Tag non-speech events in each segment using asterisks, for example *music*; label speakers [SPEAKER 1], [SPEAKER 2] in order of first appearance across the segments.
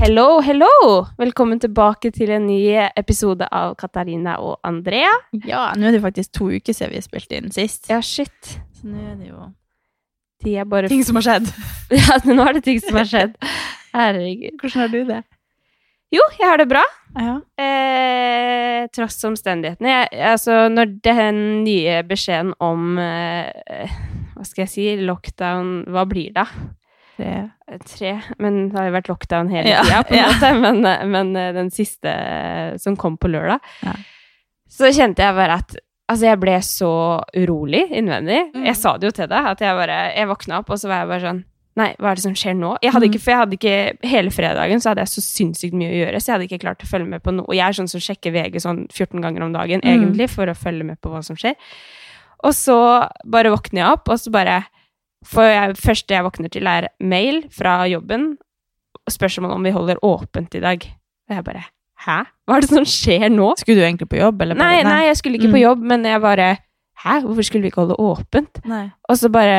[SPEAKER 1] Hello, hello! Velkommen tilbake til en ny episode av Katarina og Andrea.
[SPEAKER 2] Ja, nå er det faktisk to uker siden vi spilte inn sist.
[SPEAKER 1] Ja, shit.
[SPEAKER 2] Så nå er det jo
[SPEAKER 1] De er bare...
[SPEAKER 2] ting som har skjedd.
[SPEAKER 1] *laughs* Ja, nå er det ting som har skjedd. Herregud.
[SPEAKER 2] Hvordan har du det?
[SPEAKER 1] Jo, jeg har det bra.
[SPEAKER 2] Ja.
[SPEAKER 1] Eh, tross omstendighetene. Jeg, altså, når den nye beskjeden om eh, Hva skal jeg si? Lockdown Hva blir det?
[SPEAKER 2] Det,
[SPEAKER 1] eh, Tre Men det har jo vært lockdown hele
[SPEAKER 2] Ja,
[SPEAKER 1] tida, på en måte.
[SPEAKER 2] ja.
[SPEAKER 1] *laughs* Men, eh, men eh, den siste eh, som kom på lørdag,
[SPEAKER 2] Ja.
[SPEAKER 1] så kjente jeg bare at Altså, jeg ble så urolig innvendig.
[SPEAKER 2] Mm.
[SPEAKER 1] Jeg sa det jo til deg, at jeg bare Jeg våkna opp, og så var jeg bare sånn Nei, hva er det som skjer nå? Jeg
[SPEAKER 2] Mm.
[SPEAKER 1] hadde ikke, for jeg hadde ikke, Hele fredagen så hadde jeg så sinnssykt mye å gjøre, så jeg hadde ikke klart å følge med på noe. Og jeg er sånn som sjekker VG sånn 14 ganger om dagen,
[SPEAKER 2] Mm.
[SPEAKER 1] egentlig, for å følge med på hva som skjer. Og så bare våkner jeg opp, og så bare For jeg, første jeg våkner til, er mail fra jobben og spørsmål om vi holder åpent i dag. Og jeg bare Hæ? Hva er det som skjer nå?
[SPEAKER 2] Skulle du egentlig på jobb? Eller
[SPEAKER 1] Nei,
[SPEAKER 2] bare,
[SPEAKER 1] nei, jeg skulle ikke på
[SPEAKER 2] Mm.
[SPEAKER 1] jobb, men jeg bare Hæ, hvorfor skulle vi ikke holde åpent?
[SPEAKER 2] nei.
[SPEAKER 1] Og så bare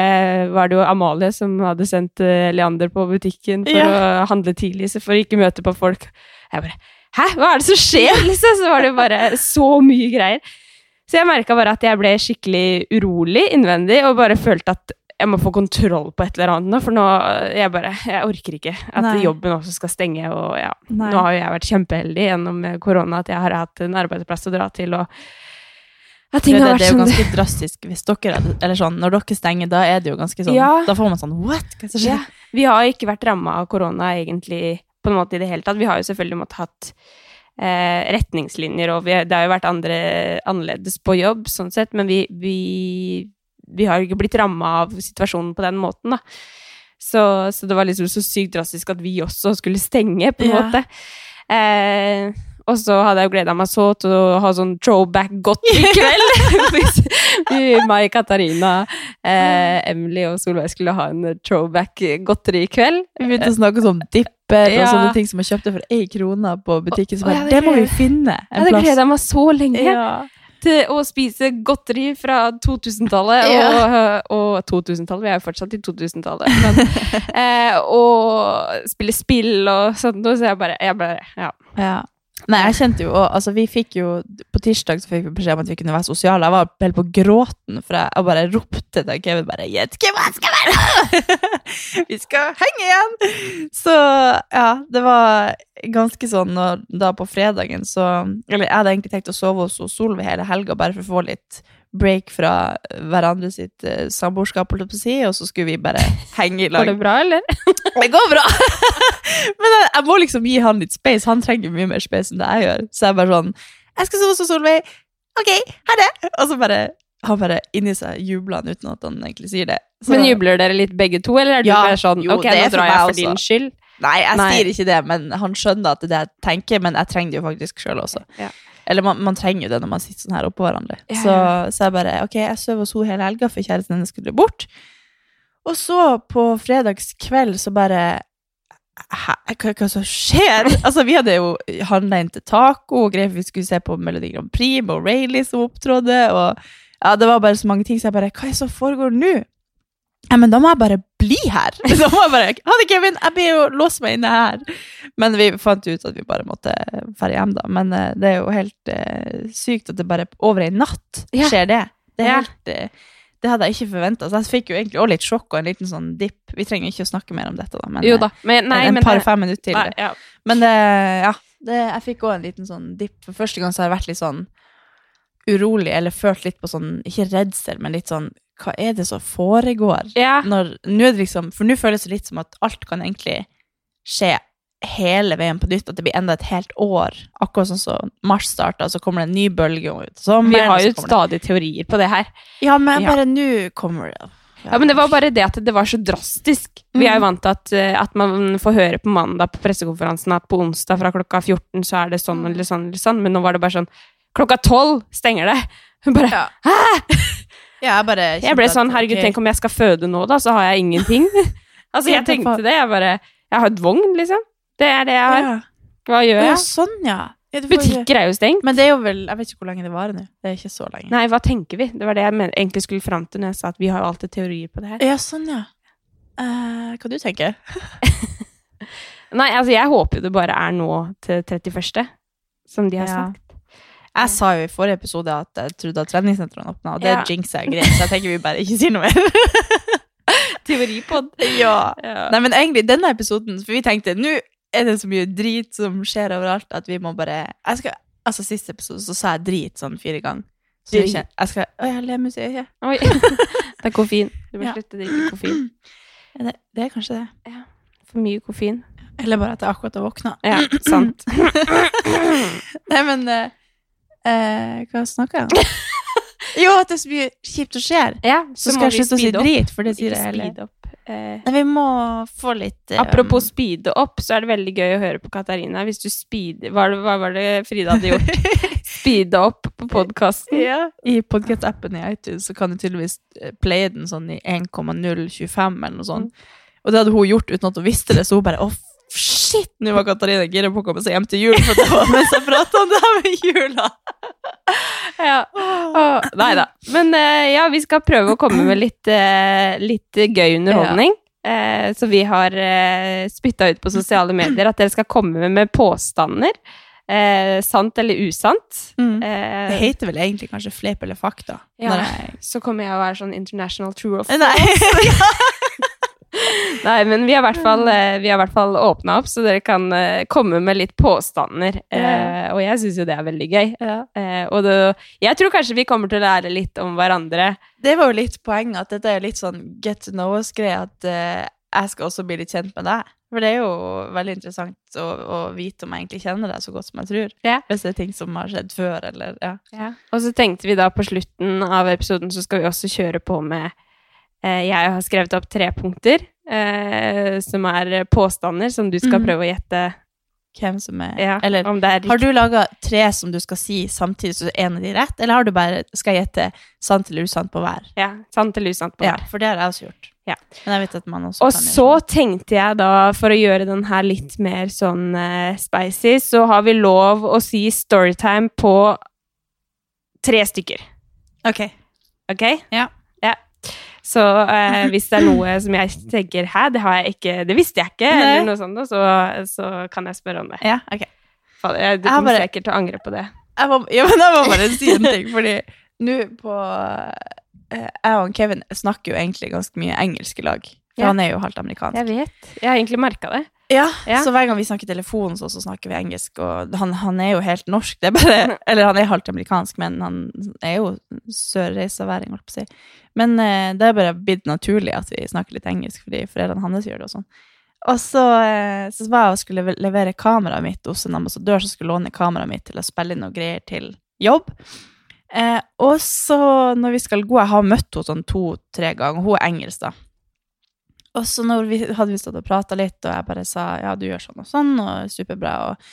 [SPEAKER 1] var det jo Amalie som hadde sendt eh, Leander på butikken for
[SPEAKER 2] Ja.
[SPEAKER 1] å handle tidlig, så for å ikke møte på folk. Jeg bare Hæ, hva er det som skjer? *laughs* Liksom, så var det jo bare så mye greier. Så jeg merka bare at jeg ble skikkelig urolig innvendig, og bare følte at jeg må få kontroll på et eller annet nå, for nå Jeg bare Jeg orker ikke at
[SPEAKER 2] Nei.
[SPEAKER 1] jobben også skal stenge, og ja.
[SPEAKER 2] Nei.
[SPEAKER 1] Nå har jo jeg vært kjempeheldig gjennom eh, korona at jeg har hatt en arbeidsplass å dra til, og at ting
[SPEAKER 2] det,
[SPEAKER 1] har
[SPEAKER 2] det,
[SPEAKER 1] vært sånn-
[SPEAKER 2] det er jo
[SPEAKER 1] som det-
[SPEAKER 2] ganske drastisk hvis dere hadde- Eller sånn, når dere stenger, da er det jo ganske sånn
[SPEAKER 1] Ja.
[SPEAKER 2] Da får man sånn What? Hva er det som
[SPEAKER 1] Ja.
[SPEAKER 2] skjer?
[SPEAKER 1] Vi har ikke vært ramma av korona egentlig på en måte i det hele tatt. Vi har jo selvfølgelig måttet hatt eh, retningslinjer, og vi, det har jo vært andre, annerledes på jobb, sånn sett, men vi, vi, vi har jo ikke blitt ramma av situasjonen på den måten, da. Så, så det var liksom så sykt drastisk at vi også skulle stenge, på en
[SPEAKER 2] Ja.
[SPEAKER 1] måte. Eh, og så hadde jeg jo gleda meg så til å ha sånn throwback godt i kveld.
[SPEAKER 2] *laughs*
[SPEAKER 1] *laughs* Hvis vi, meg, Katarina, eh, Emily og Solveig skulle ha en throwback godteri i kveld.
[SPEAKER 2] Vi begynte å snakke sånn om dipper og
[SPEAKER 1] Ja.
[SPEAKER 2] sånne ting som jeg kjøpte for én krone på butikken. Så
[SPEAKER 1] Å,
[SPEAKER 2] bare,
[SPEAKER 1] ja, det
[SPEAKER 2] det må vi
[SPEAKER 1] gleder-
[SPEAKER 2] finne
[SPEAKER 1] Jeg
[SPEAKER 2] en
[SPEAKER 1] hadde
[SPEAKER 2] plass.
[SPEAKER 1] gleda meg så lenge
[SPEAKER 2] Ja.
[SPEAKER 1] til å spise godteri fra 2000-tallet. Og, øh, og 2000-tallet, vi er jo fortsatt i 2000-tallet.
[SPEAKER 2] *laughs*
[SPEAKER 1] Men, eh, og spille spill og sånt noe, så jeg bare, jeg bare Ja.
[SPEAKER 2] Ja. Nei, jeg kjente jo også, altså vi fikk jo, På tirsdag så fikk vi beskjed om at vi kunne være sosiale. Jeg var helt på gråten, for jeg, jeg bare ropte til Kevin bare Gjett hvem jeg skal være! *laughs* vi skal henge igjen! Så ja, det var ganske sånn når, da på fredagen så Eller jeg hadde egentlig tenkt å sove hos Solveig hele helga bare for å få litt break fra hverandre sitt eh, samboerskap, holdt jeg på å si, og så skulle vi bare henge i
[SPEAKER 1] Går
[SPEAKER 2] lag.
[SPEAKER 1] det bra, eller?
[SPEAKER 2] Det går bra! *laughs* Men jeg, jeg må liksom gi han litt space. Han trenger mye mer space enn det jeg gjør. Så jeg er bare sånn Jeg skal sove hos Solveig. Ok, ha det! Og så bare Han bare inni seg jubler han uten at han egentlig sier det. Så,
[SPEAKER 1] Men jubler dere litt begge to, eller er du
[SPEAKER 2] Ja,
[SPEAKER 1] bare sånn
[SPEAKER 2] jo,
[SPEAKER 1] Ok,
[SPEAKER 2] det
[SPEAKER 1] nå
[SPEAKER 2] er for
[SPEAKER 1] drar jeg
[SPEAKER 2] meg
[SPEAKER 1] for din skyld.
[SPEAKER 2] Nei, jeg
[SPEAKER 1] Nei.
[SPEAKER 2] sier ikke det, men han skjønner at det er det jeg tenker, men jeg trenger det jo faktisk sjøl også.
[SPEAKER 1] Ja.
[SPEAKER 2] Eller man, man trenger jo det når man sitter sånn her oppå hverandre.
[SPEAKER 1] Ja,
[SPEAKER 2] Så,
[SPEAKER 1] ja.
[SPEAKER 2] så jeg bare Ok, jeg sover hos henne hele helga, for kjæresten hennes skulle bort. Og så på fredagskveld så bare Hæ, hva, hva som
[SPEAKER 1] *laughs*
[SPEAKER 2] skjer? Altså, vi hadde jo handla inn til taco, og greier for vi skulle se på Melodi Grand Prix med O'Reilly som opptrådde, og ja, det var bare så mange ting, så jeg bare Hva er det som foregår nå? Ja, men da må jeg bare bli her! *laughs* Da må jeg bare Ha det, Kevin! Jeg blir jo låst meg inne her! Men vi fant ut at vi bare måtte dra hjem, da. Men eh, det er jo helt eh, sykt at det bare over ei natt
[SPEAKER 1] Ja.
[SPEAKER 2] skjer det. Det er
[SPEAKER 1] Ja.
[SPEAKER 2] helt eh, det hadde jeg ikke forventa, så jeg fikk jo egentlig også litt sjokk og en liten sånn dipp. Vi trenger ikke å snakke mer om dette, da, men
[SPEAKER 1] Jo
[SPEAKER 2] eh,
[SPEAKER 1] da. Men, nei,
[SPEAKER 2] en,
[SPEAKER 1] men
[SPEAKER 2] en par
[SPEAKER 1] det-
[SPEAKER 2] fem minutter til.
[SPEAKER 1] nei, ja.
[SPEAKER 2] Men det, ja, det, jeg fikk også en liten sånn dipp. For første gang så har jeg vært litt sånn urolig, eller følt litt på sånn, ikke redsel, men litt sånn hva er det som foregår?
[SPEAKER 1] Ja.
[SPEAKER 2] Når, nå er det liksom, for nå føles det litt som at alt kan egentlig skje hele veien på nytt, at det blir enda et helt år. Akkurat sånn som mars starta, så kommer det en ny bølge om ut. sommeren,
[SPEAKER 1] Vi har
[SPEAKER 2] og
[SPEAKER 1] jo
[SPEAKER 2] så kommer det-
[SPEAKER 1] stadig teorier på det her.
[SPEAKER 2] Ja, men
[SPEAKER 1] Ja.
[SPEAKER 2] bare nå kommer det
[SPEAKER 1] Ja, men det var bare det at det var så drastisk. Vi
[SPEAKER 2] Mm.
[SPEAKER 1] er jo vant til at, eh, at man får høre på mandag på pressekonferansen at på onsdag fra klokka 14 så er det sånn
[SPEAKER 2] Mm.
[SPEAKER 1] eller sånn eller sånn, men nå var det bare sånn klokka 12 stenger det. *laughs* Hun bare,
[SPEAKER 2] Ja. Ja, jeg bare
[SPEAKER 1] jeg ble
[SPEAKER 2] kjente
[SPEAKER 1] sånn,
[SPEAKER 2] at,
[SPEAKER 1] herregud,
[SPEAKER 2] ok.
[SPEAKER 1] tenk om jeg skal føde nå da, så har jeg
[SPEAKER 2] *laughs*
[SPEAKER 1] ingenting. altså jeg
[SPEAKER 2] Ja, for
[SPEAKER 1] tenkte
[SPEAKER 2] faen.
[SPEAKER 1] det, jeg bare, jeg har et vogn liksom. Det er det jeg har.
[SPEAKER 2] Ja.
[SPEAKER 1] Hva
[SPEAKER 2] Å,
[SPEAKER 1] gjør
[SPEAKER 2] ja,
[SPEAKER 1] jeg?
[SPEAKER 2] sånn, ja. ja du får jo-
[SPEAKER 1] Butikker er jo stengt.
[SPEAKER 2] Men det er jo vel Jeg vet ikke hvor lenge det varer nå. Det er ikke så lenge.
[SPEAKER 1] Nei, hva tenker vi? Det var det jeg men- egentlig skulle fram til når jeg sa at vi har jo alltid teorier på det her.
[SPEAKER 2] Ja, sånn, ja. Eh, hva du tenker
[SPEAKER 1] Nei, altså jeg håper jo det bare er nå til 31. Som de har
[SPEAKER 2] Ja.
[SPEAKER 1] sagt.
[SPEAKER 2] Jeg sa jo i forrige episode at jeg trodde at treningssentrene åpna, og det
[SPEAKER 1] Ja.
[SPEAKER 2] jinxer jeg greit, så jeg tenker vi bare ikke sier noe mer.
[SPEAKER 1] Teoripod.
[SPEAKER 2] *laughs* ja.
[SPEAKER 1] Ja.
[SPEAKER 2] Nei, men egentlig denne episoden, for vi tenkte nå er det så mye drit som skjer overalt at vi må bare jeg skal, Altså, siste episode så sa jeg drit sånn fire ganger. Så jeg,
[SPEAKER 1] Drit.
[SPEAKER 2] kjenner, jeg skal Å, jeg har lemus i *clears throat* øyet.
[SPEAKER 1] Oi. *laughs* Det er koffein. Du må
[SPEAKER 2] Ja.
[SPEAKER 1] slutte å drikke koffein.
[SPEAKER 2] Er Det, det er kanskje det.
[SPEAKER 1] For mye koffein.
[SPEAKER 2] Eller bare at jeg akkurat har våkna.
[SPEAKER 1] Ja, sant.
[SPEAKER 2] Nei, men eh, eh, Hva snakker jeg om?
[SPEAKER 1] *laughs*
[SPEAKER 2] jo, at det er så mye kjipt som skjer.
[SPEAKER 1] *laughs* Ja,
[SPEAKER 2] Så, skal jeg slutte å si drit, for det sier
[SPEAKER 1] Ikke
[SPEAKER 2] jeg hele
[SPEAKER 1] speede opp. Eh,
[SPEAKER 2] Nei, vi må få litt eh,
[SPEAKER 1] apropos speede opp, så er det veldig gøy å høre på Katarina. Hvis du speeder Hva, hva var det Frida hadde *laughs* gjort?
[SPEAKER 2] *laughs*
[SPEAKER 1] Speede opp på podkasten.
[SPEAKER 2] Ja. I podcast-appen i iTunes så kan du tydeligvis eh, playe den sånn i 1,025 eller
[SPEAKER 1] Mm.
[SPEAKER 2] noe sånt. Og det hadde hun gjort uten at hun visste det, så hun bare åh, shit, nå var Katarina gira på å komme seg hjem til jul, for det var mens jeg pratet om det her med jula.
[SPEAKER 1] Ja. Åh, nei da. Men eh, ja, vi skal prøve å komme med litt, eh, litt gøy underholdning. Eh, så vi har uh, spytta ut på sosiale medier at dere skal komme med påstander. eh, sant eller usant.
[SPEAKER 2] Mm.
[SPEAKER 1] Eh,
[SPEAKER 2] Det heter vel egentlig kanskje fleip eller fakta.
[SPEAKER 1] ja,
[SPEAKER 2] Når jeg-
[SPEAKER 1] så kommer jeg å være sånn international true of
[SPEAKER 2] Nei.
[SPEAKER 1] Nei, men vi har i hvert fall, eh, vi har i hvert fall åpna opp, så dere kan eh, komme med litt påstander. Eh, og jeg syns jo det er veldig gøy. Eh, og det, jeg tror kanskje vi kommer til å lære litt om hverandre.
[SPEAKER 2] Det var jo litt poenget, at dette er litt sånn get to know us-greie, at eh, jeg skal også bli litt kjent med deg. For det er jo veldig interessant å, å vite om jeg egentlig kjenner deg så godt som jeg tror.
[SPEAKER 1] Ja.
[SPEAKER 2] Hvis det er ting som har skjedd før, eller ja.
[SPEAKER 1] Og så tenkte vi da på slutten av episoden så skal vi også kjøre på med eh, Jeg har skrevet opp tre punkter eh, som er påstander som du skal
[SPEAKER 2] Mhm.
[SPEAKER 1] prøve å gjette
[SPEAKER 2] hvem som er
[SPEAKER 1] ja,
[SPEAKER 2] eller,
[SPEAKER 1] om det er
[SPEAKER 2] Har
[SPEAKER 1] riktig.
[SPEAKER 2] du laga tre som du skal si samtidig, så en av de er rett? Eller har du bare skal jeg gjette sant eller usant på hver?
[SPEAKER 1] Ja, sant eller usant. på
[SPEAKER 2] Ja,
[SPEAKER 1] det.
[SPEAKER 2] for det har jeg også gjort.
[SPEAKER 1] Ja.
[SPEAKER 2] Men jeg vet at man også
[SPEAKER 1] Og
[SPEAKER 2] kan
[SPEAKER 1] så tenkte jeg da, for å gjøre den her litt mer sånn eh, spicy, så har vi lov å si storytime på tre stykker.
[SPEAKER 2] sånn. Ok.
[SPEAKER 1] Ok?
[SPEAKER 2] Ja.
[SPEAKER 1] Så eh, hvis det er noe som jeg tenker Hæ, det, har jeg ikke, det visste jeg ikke,
[SPEAKER 2] Nei.
[SPEAKER 1] eller noe sånt, da, så, så kan jeg spørre om det.
[SPEAKER 2] Ja, ok.
[SPEAKER 1] Fader, jeg, du
[SPEAKER 2] Jeg har
[SPEAKER 1] kommer
[SPEAKER 2] bare-
[SPEAKER 1] sikkert til å angre på det.
[SPEAKER 2] Jeg må, ja, men jeg må bare si en ting, fordi nå på eh, Jeg og Kevin snakker jo egentlig ganske mye engelsk i lag. For
[SPEAKER 1] Ja.
[SPEAKER 2] han er jo halvt amerikansk.
[SPEAKER 1] Jeg vet. Jeg har egentlig merka det.
[SPEAKER 2] Ja,
[SPEAKER 1] Ja.
[SPEAKER 2] så hver gang vi snakker telefon, så, så snakker vi engelsk. Og han, han er jo helt norsk. Det er bare, eller han er halvt amerikansk, men han er jo sørreisaværing, holdt på å si. Men eh, det er bare blitt naturlig at vi snakker litt engelsk, fordi foreldrene hans gjør det og sånn. Og så, eh, så var jeg og skulle le- levere kameraet mitt hos en ambassadør som skulle låne kameraet mitt til å spille inn noen greier til jobb. Eh, og så når vi skal gå, jeg har møtt henne sånn to-tre ganger, hun er engelsk da. Og så når vi, hadde vi stått og pratet litt, og jeg bare sa, ja, du gjør sånn og sånn, og superbra, og,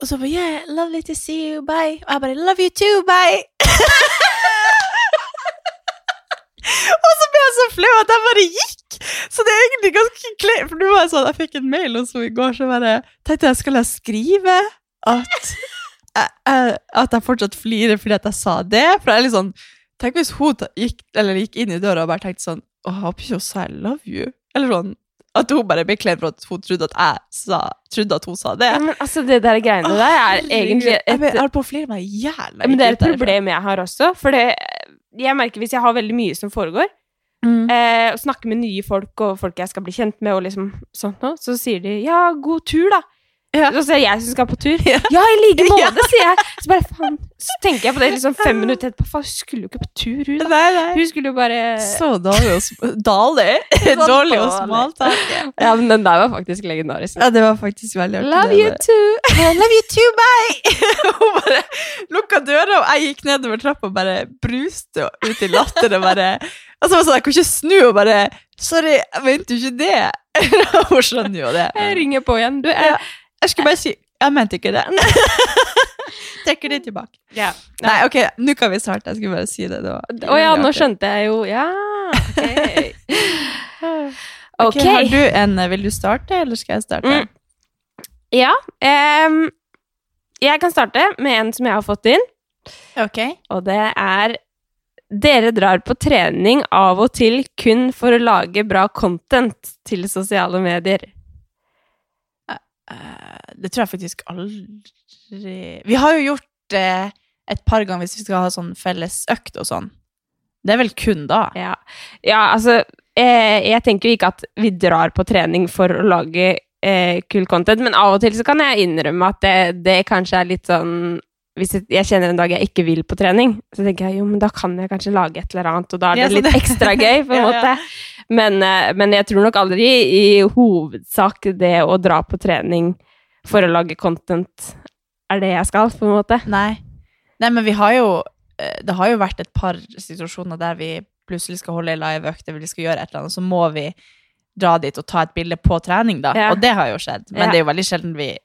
[SPEAKER 2] og så bare, yeah, lovely to see you, bye. Og jeg bare, love you too, bye. *laughs* og så ble jeg så flau at jeg bare gikk. Så det er egentlig ganske klei, for nå var jeg sånn, jeg fikk en mail også i går, så bare, tenkte jeg, skal jeg skrive at jeg, jeg, at jeg fortsatt flirer fordi at jeg sa det. For jeg er litt sånn Tenk hvis hun ta- gikk, eller gikk inn i døra og bare tenkte sånn Å, jeg håper ikke hun sa I love you. Eller sånn. At hun bare ble kledd for at hun trodde at jeg sa, trodde at hun sa det.
[SPEAKER 1] Ja, men altså, det der greiene der er egentlig
[SPEAKER 2] Jeg
[SPEAKER 1] et
[SPEAKER 2] ble- Jeg holdt på å flire meg i hjel.
[SPEAKER 1] Men det er et problem jeg har også, for det jeg merker hvis jeg har veldig mye som foregår,
[SPEAKER 2] Mm.
[SPEAKER 1] eh, og snakker med nye folk og folk jeg skal bli kjent med, og liksom sånt noe, så sier de 'ja, god tur', da.
[SPEAKER 2] Ja.
[SPEAKER 1] Og så er det jeg som skal på tur.
[SPEAKER 2] *laughs* Ja.
[SPEAKER 1] Ja, i like måte, sier jeg. Så bare faen, så tenker jeg på det liksom fem minutter etterpå. Faen, hun skulle jo ikke på tur, hun. da.
[SPEAKER 2] Nei, nei.
[SPEAKER 1] Hun skulle jo bare Sånn
[SPEAKER 2] Så dårlig å sm-
[SPEAKER 1] *laughs*
[SPEAKER 2] Dårlig? *laughs* Dårlig å smaltake.
[SPEAKER 1] Ja, men den der var faktisk legendarisk.
[SPEAKER 2] Ja, det var faktisk veldig artig.
[SPEAKER 1] Love *laughs*
[SPEAKER 2] det
[SPEAKER 1] you
[SPEAKER 2] der.
[SPEAKER 1] too.
[SPEAKER 2] I love you too, bye! Hun bare lukka døra, og jeg gikk nedover trappa og bare bruste ut i latter. Og bare, altså, jeg, sånn, jeg kan ikke snu og bare Sorry, jeg mente jo ikke det. *laughs* Hun skjønner jo det.
[SPEAKER 1] Jeg ringer på igjen. Du, eh, jeg,
[SPEAKER 2] Jeg skulle bare si Jeg mente ikke det. *laughs* Trekker det tilbake.
[SPEAKER 1] ja.
[SPEAKER 2] Nei, ok, nå kan vi starte. Jeg skulle bare si det. det var-
[SPEAKER 1] Å ja, nå skjønte jeg jo Ja, ok.
[SPEAKER 2] *laughs* Ok, Har du en eh, Vil du starte, eller skal jeg starte?
[SPEAKER 1] Mm. Ja. em, jeg kan starte med en som jeg har fått inn,
[SPEAKER 2] Ok.
[SPEAKER 1] og det er Dere drar på trening av og til kun for å lage bra content til sosiale medier.
[SPEAKER 2] Eh, det tror jeg faktisk aldri Vi har jo gjort det et par ganger hvis vi skal ha sånn felles økt og sånn. Det er vel kun da.
[SPEAKER 1] Ja, ja altså eh, Jeg tenker jo ikke at vi drar på trening for å lage eh, kul content, men av og til så kan jeg innrømme at det, det kanskje er litt sånn hvis jeg- jeg kjenner en dag jeg ikke vil på trening, så tenker jeg jo, men da kan jeg kanskje lage et eller annet, og da er
[SPEAKER 2] Ja,
[SPEAKER 1] det
[SPEAKER 2] så
[SPEAKER 1] litt
[SPEAKER 2] det-
[SPEAKER 1] ekstra gøy, på en
[SPEAKER 2] *laughs* Ja, ja.
[SPEAKER 1] måte. Men, eh, men jeg tror nok aldri i hovedsak det å dra på trening for å lage content er det jeg skal, på en måte.
[SPEAKER 2] Nei. Nei, men vi har jo eh, Det har jo vært et par situasjoner der vi plutselig skal holde ei liveøkt eller vi skal gjøre et eller annet, så må vi dra dit og ta et bilde på trening, da.
[SPEAKER 1] Ja.
[SPEAKER 2] Og det har jo skjedd. Men
[SPEAKER 1] Ja.
[SPEAKER 2] det er jo veldig sjelden vi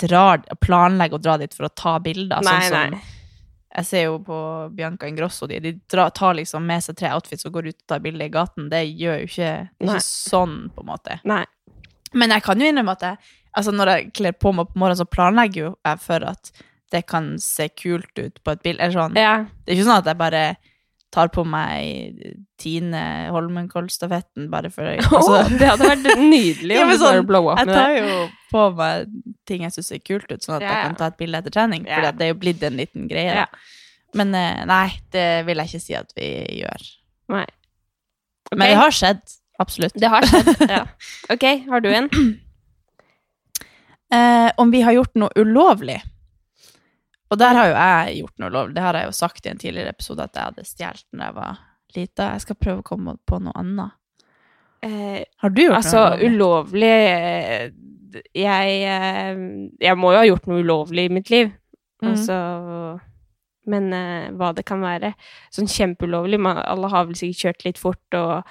[SPEAKER 2] drar, planlegger å dra dit for å ta bilder.
[SPEAKER 1] Nei,
[SPEAKER 2] sånn som
[SPEAKER 1] nei.
[SPEAKER 2] Jeg ser jo på Bianca Ingrosso, de, de dra, tar liksom med seg tre outfits og går ut og tar bilde i gaten. Det gjør jo ikke, det er
[SPEAKER 1] Nei.
[SPEAKER 2] ikke sånn, på en måte.
[SPEAKER 1] Nei.
[SPEAKER 2] Men jeg kan jo innrømme at jeg, altså når jeg kler på meg på morgenen, så planlegger jo jeg for at det kan se kult ut på et bilde. Eller sånn.
[SPEAKER 1] Ja.
[SPEAKER 2] Det er ikke sånn at jeg bare tar på meg Tine Holmenkollstafetten bare for *laughs*
[SPEAKER 1] *laughs*
[SPEAKER 2] altså,
[SPEAKER 1] Åh, det hadde vært nydelig
[SPEAKER 2] Ja,
[SPEAKER 1] om
[SPEAKER 2] men
[SPEAKER 1] du bare
[SPEAKER 2] sånn,
[SPEAKER 1] blow up
[SPEAKER 2] Jeg
[SPEAKER 1] med det.
[SPEAKER 2] tar jo på meg ting jeg syns ser kult ut, sånn at
[SPEAKER 1] Ja, ja.
[SPEAKER 2] jeg kan ta et bilde etter trening. For
[SPEAKER 1] Ja.
[SPEAKER 2] det er jo blitt en liten greie. da.
[SPEAKER 1] Ja.
[SPEAKER 2] Men eh, nei, det vil jeg ikke si at vi gjør.
[SPEAKER 1] Nei.
[SPEAKER 2] Men
[SPEAKER 1] Ok.
[SPEAKER 2] det har skjedd. Absolutt.
[SPEAKER 1] Det har skjedd, *laughs* ja. Ok, har du en?
[SPEAKER 2] Eh, om vi har gjort noe ulovlig. Og der har jo jeg gjort noe ulovlig. Det har jeg jo sagt i en tidligere episode at jeg hadde stjålet da jeg var lita. Jeg skal prøve å komme på noe annet. Har du gjort
[SPEAKER 1] altså,
[SPEAKER 2] noe ulovlig?
[SPEAKER 1] ulovlig eh, jeg, eh, jeg må jo ha gjort noe ulovlig i mitt liv.
[SPEAKER 2] Mhm.
[SPEAKER 1] Altså, men eh, hva det kan være. Sånn kjempeulovlig. Man, alle har vel sikkert kjørt litt fort, og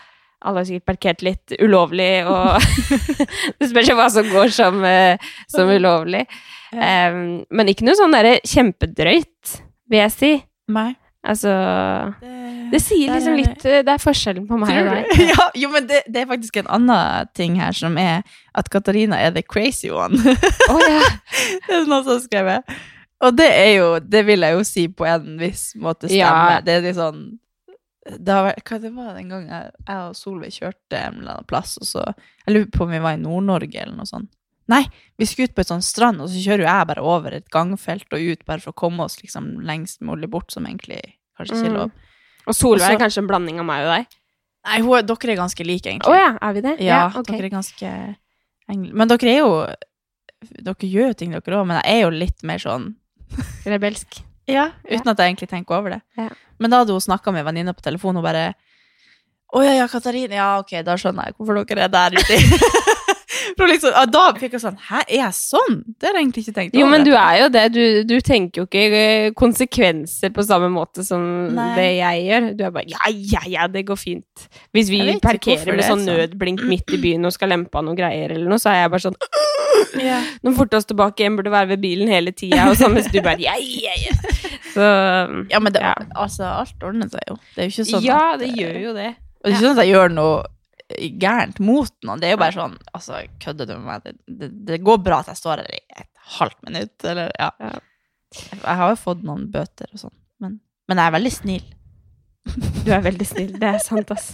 [SPEAKER 1] alle har sikkert parkert litt ulovlig, og *laughs* Det spørs jo hva som går som, eh, som ulovlig. Eh, men ikke noe sånn derre kjempedrøyt, vil jeg si.
[SPEAKER 2] Nei.
[SPEAKER 1] Altså Det sier
[SPEAKER 2] Der
[SPEAKER 1] liksom
[SPEAKER 2] er det.
[SPEAKER 1] litt eh, Det er forskjellen på meg og deg.
[SPEAKER 2] ja, jo, men det, *laughs* det er faktisk en annen ting her, som er at Katarina er the crazy one. *laughs*
[SPEAKER 1] Å, ja.
[SPEAKER 2] det er noen som har skrevet. Og det er jo, det vil jeg jo si på en viss måte
[SPEAKER 1] Ja.
[SPEAKER 2] stemme. Det er litt sånn det har vært, Hva det var den gangen jeg, jeg og Solveig kjørte en eller annen plass, og så Jeg lurer på om vi var i Nord-Norge eller noe sånt. Nei, vi skulle ut på et sånt strand, og så kjører jo jeg bare over et gangfelt og ut bare for å komme oss liksom lengst mulig bort, som egentlig kanskje ikke
[SPEAKER 1] Mm.
[SPEAKER 2] er lov.
[SPEAKER 1] *laughs* Og Solveig
[SPEAKER 2] Også-
[SPEAKER 1] er kanskje en blanding av meg og deg.
[SPEAKER 2] Nei, hun, er- dere er ganske like, egentlig.
[SPEAKER 1] Å ja, er vi det?
[SPEAKER 2] *laughs* Ja,
[SPEAKER 1] ok.
[SPEAKER 2] dere er ganske engel- Men dere er jo Dere gjør jo ting, dere òg, men jeg er jo litt mer sånn
[SPEAKER 1] Rebelsk.
[SPEAKER 2] Ja, uten at jeg egentlig tenker over det.
[SPEAKER 1] Ja.
[SPEAKER 2] Men da hadde hun snakka med en venninne på telefonen, og bare Å ja, ja, Katarina. Ja, ok, da skjønner jeg hvorfor dere er der ute. *laughs* For liksom, ja, da fikk jeg sånn Hæ, er jeg sånn? Det har jeg egentlig ikke tenkt over.
[SPEAKER 1] Jo, men du er jo det. Du, du tenker jo ikke eh, konsekvenser på samme måte som
[SPEAKER 2] Nei.
[SPEAKER 1] det jeg gjør. Du er bare ja, ja, ja, det går fint. Hvis vi
[SPEAKER 2] Jeg vet ikke
[SPEAKER 1] parkerer
[SPEAKER 2] hvorfor
[SPEAKER 1] med
[SPEAKER 2] det er
[SPEAKER 1] sånn
[SPEAKER 2] sånn.
[SPEAKER 1] nødblink midt i byen og skal lempe av noen greier eller noe, så er jeg bare sånn
[SPEAKER 2] *laughs* Ja.
[SPEAKER 1] Nå forte oss tilbake igjen, burde være ved bilen hele tida, og sånn mens du bare ja, ja, ja. Så
[SPEAKER 2] *laughs* Ja, men det,
[SPEAKER 1] Ja.
[SPEAKER 2] altså, alt ordner seg jo. Det er jo ikke sånn
[SPEAKER 1] Ja,
[SPEAKER 2] at-
[SPEAKER 1] det gjør jo det.
[SPEAKER 2] Og det er ikke sånn at jeg gjør noe gærent mot noen. Det er jo bare sånn Altså, kødder du med meg? Det, det, det går bra at jeg står her i et halvt minutt, eller ja.
[SPEAKER 1] Ja.
[SPEAKER 2] Jeg, jeg har jo fått noen bøter og sånn, men, men jeg er veldig snill.
[SPEAKER 1] Du er veldig snill. Det er sant, ass.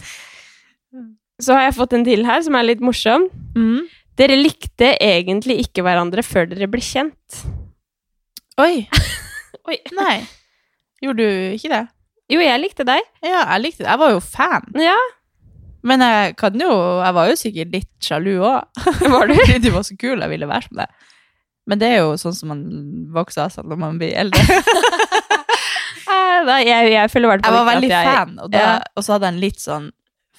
[SPEAKER 1] Så har jeg fått en til her som er litt morsom. Mm. Dere likte egentlig ikke hverandre før dere ble kjent.
[SPEAKER 2] Oi!
[SPEAKER 1] Oi.
[SPEAKER 2] Nei. Gjorde du ikke det?
[SPEAKER 1] Jo, jeg likte deg.
[SPEAKER 2] Ja, jeg likte det. Jeg var jo fan.
[SPEAKER 1] Ja,
[SPEAKER 2] Men jeg kan jo Jeg var jo sikkert litt sjalu òg.
[SPEAKER 1] *laughs* var du?
[SPEAKER 2] *laughs* Du var så kul, jeg ville være som deg. Men det er jo sånn som man vokser av seg når man blir eldre.
[SPEAKER 1] Eh, da, jeg, jeg føler i hvert fall
[SPEAKER 2] Jeg
[SPEAKER 1] ikke
[SPEAKER 2] var
[SPEAKER 1] at
[SPEAKER 2] veldig
[SPEAKER 1] jeg-
[SPEAKER 2] fan, og, da,
[SPEAKER 1] Ja.
[SPEAKER 2] og så hadde jeg en litt sånn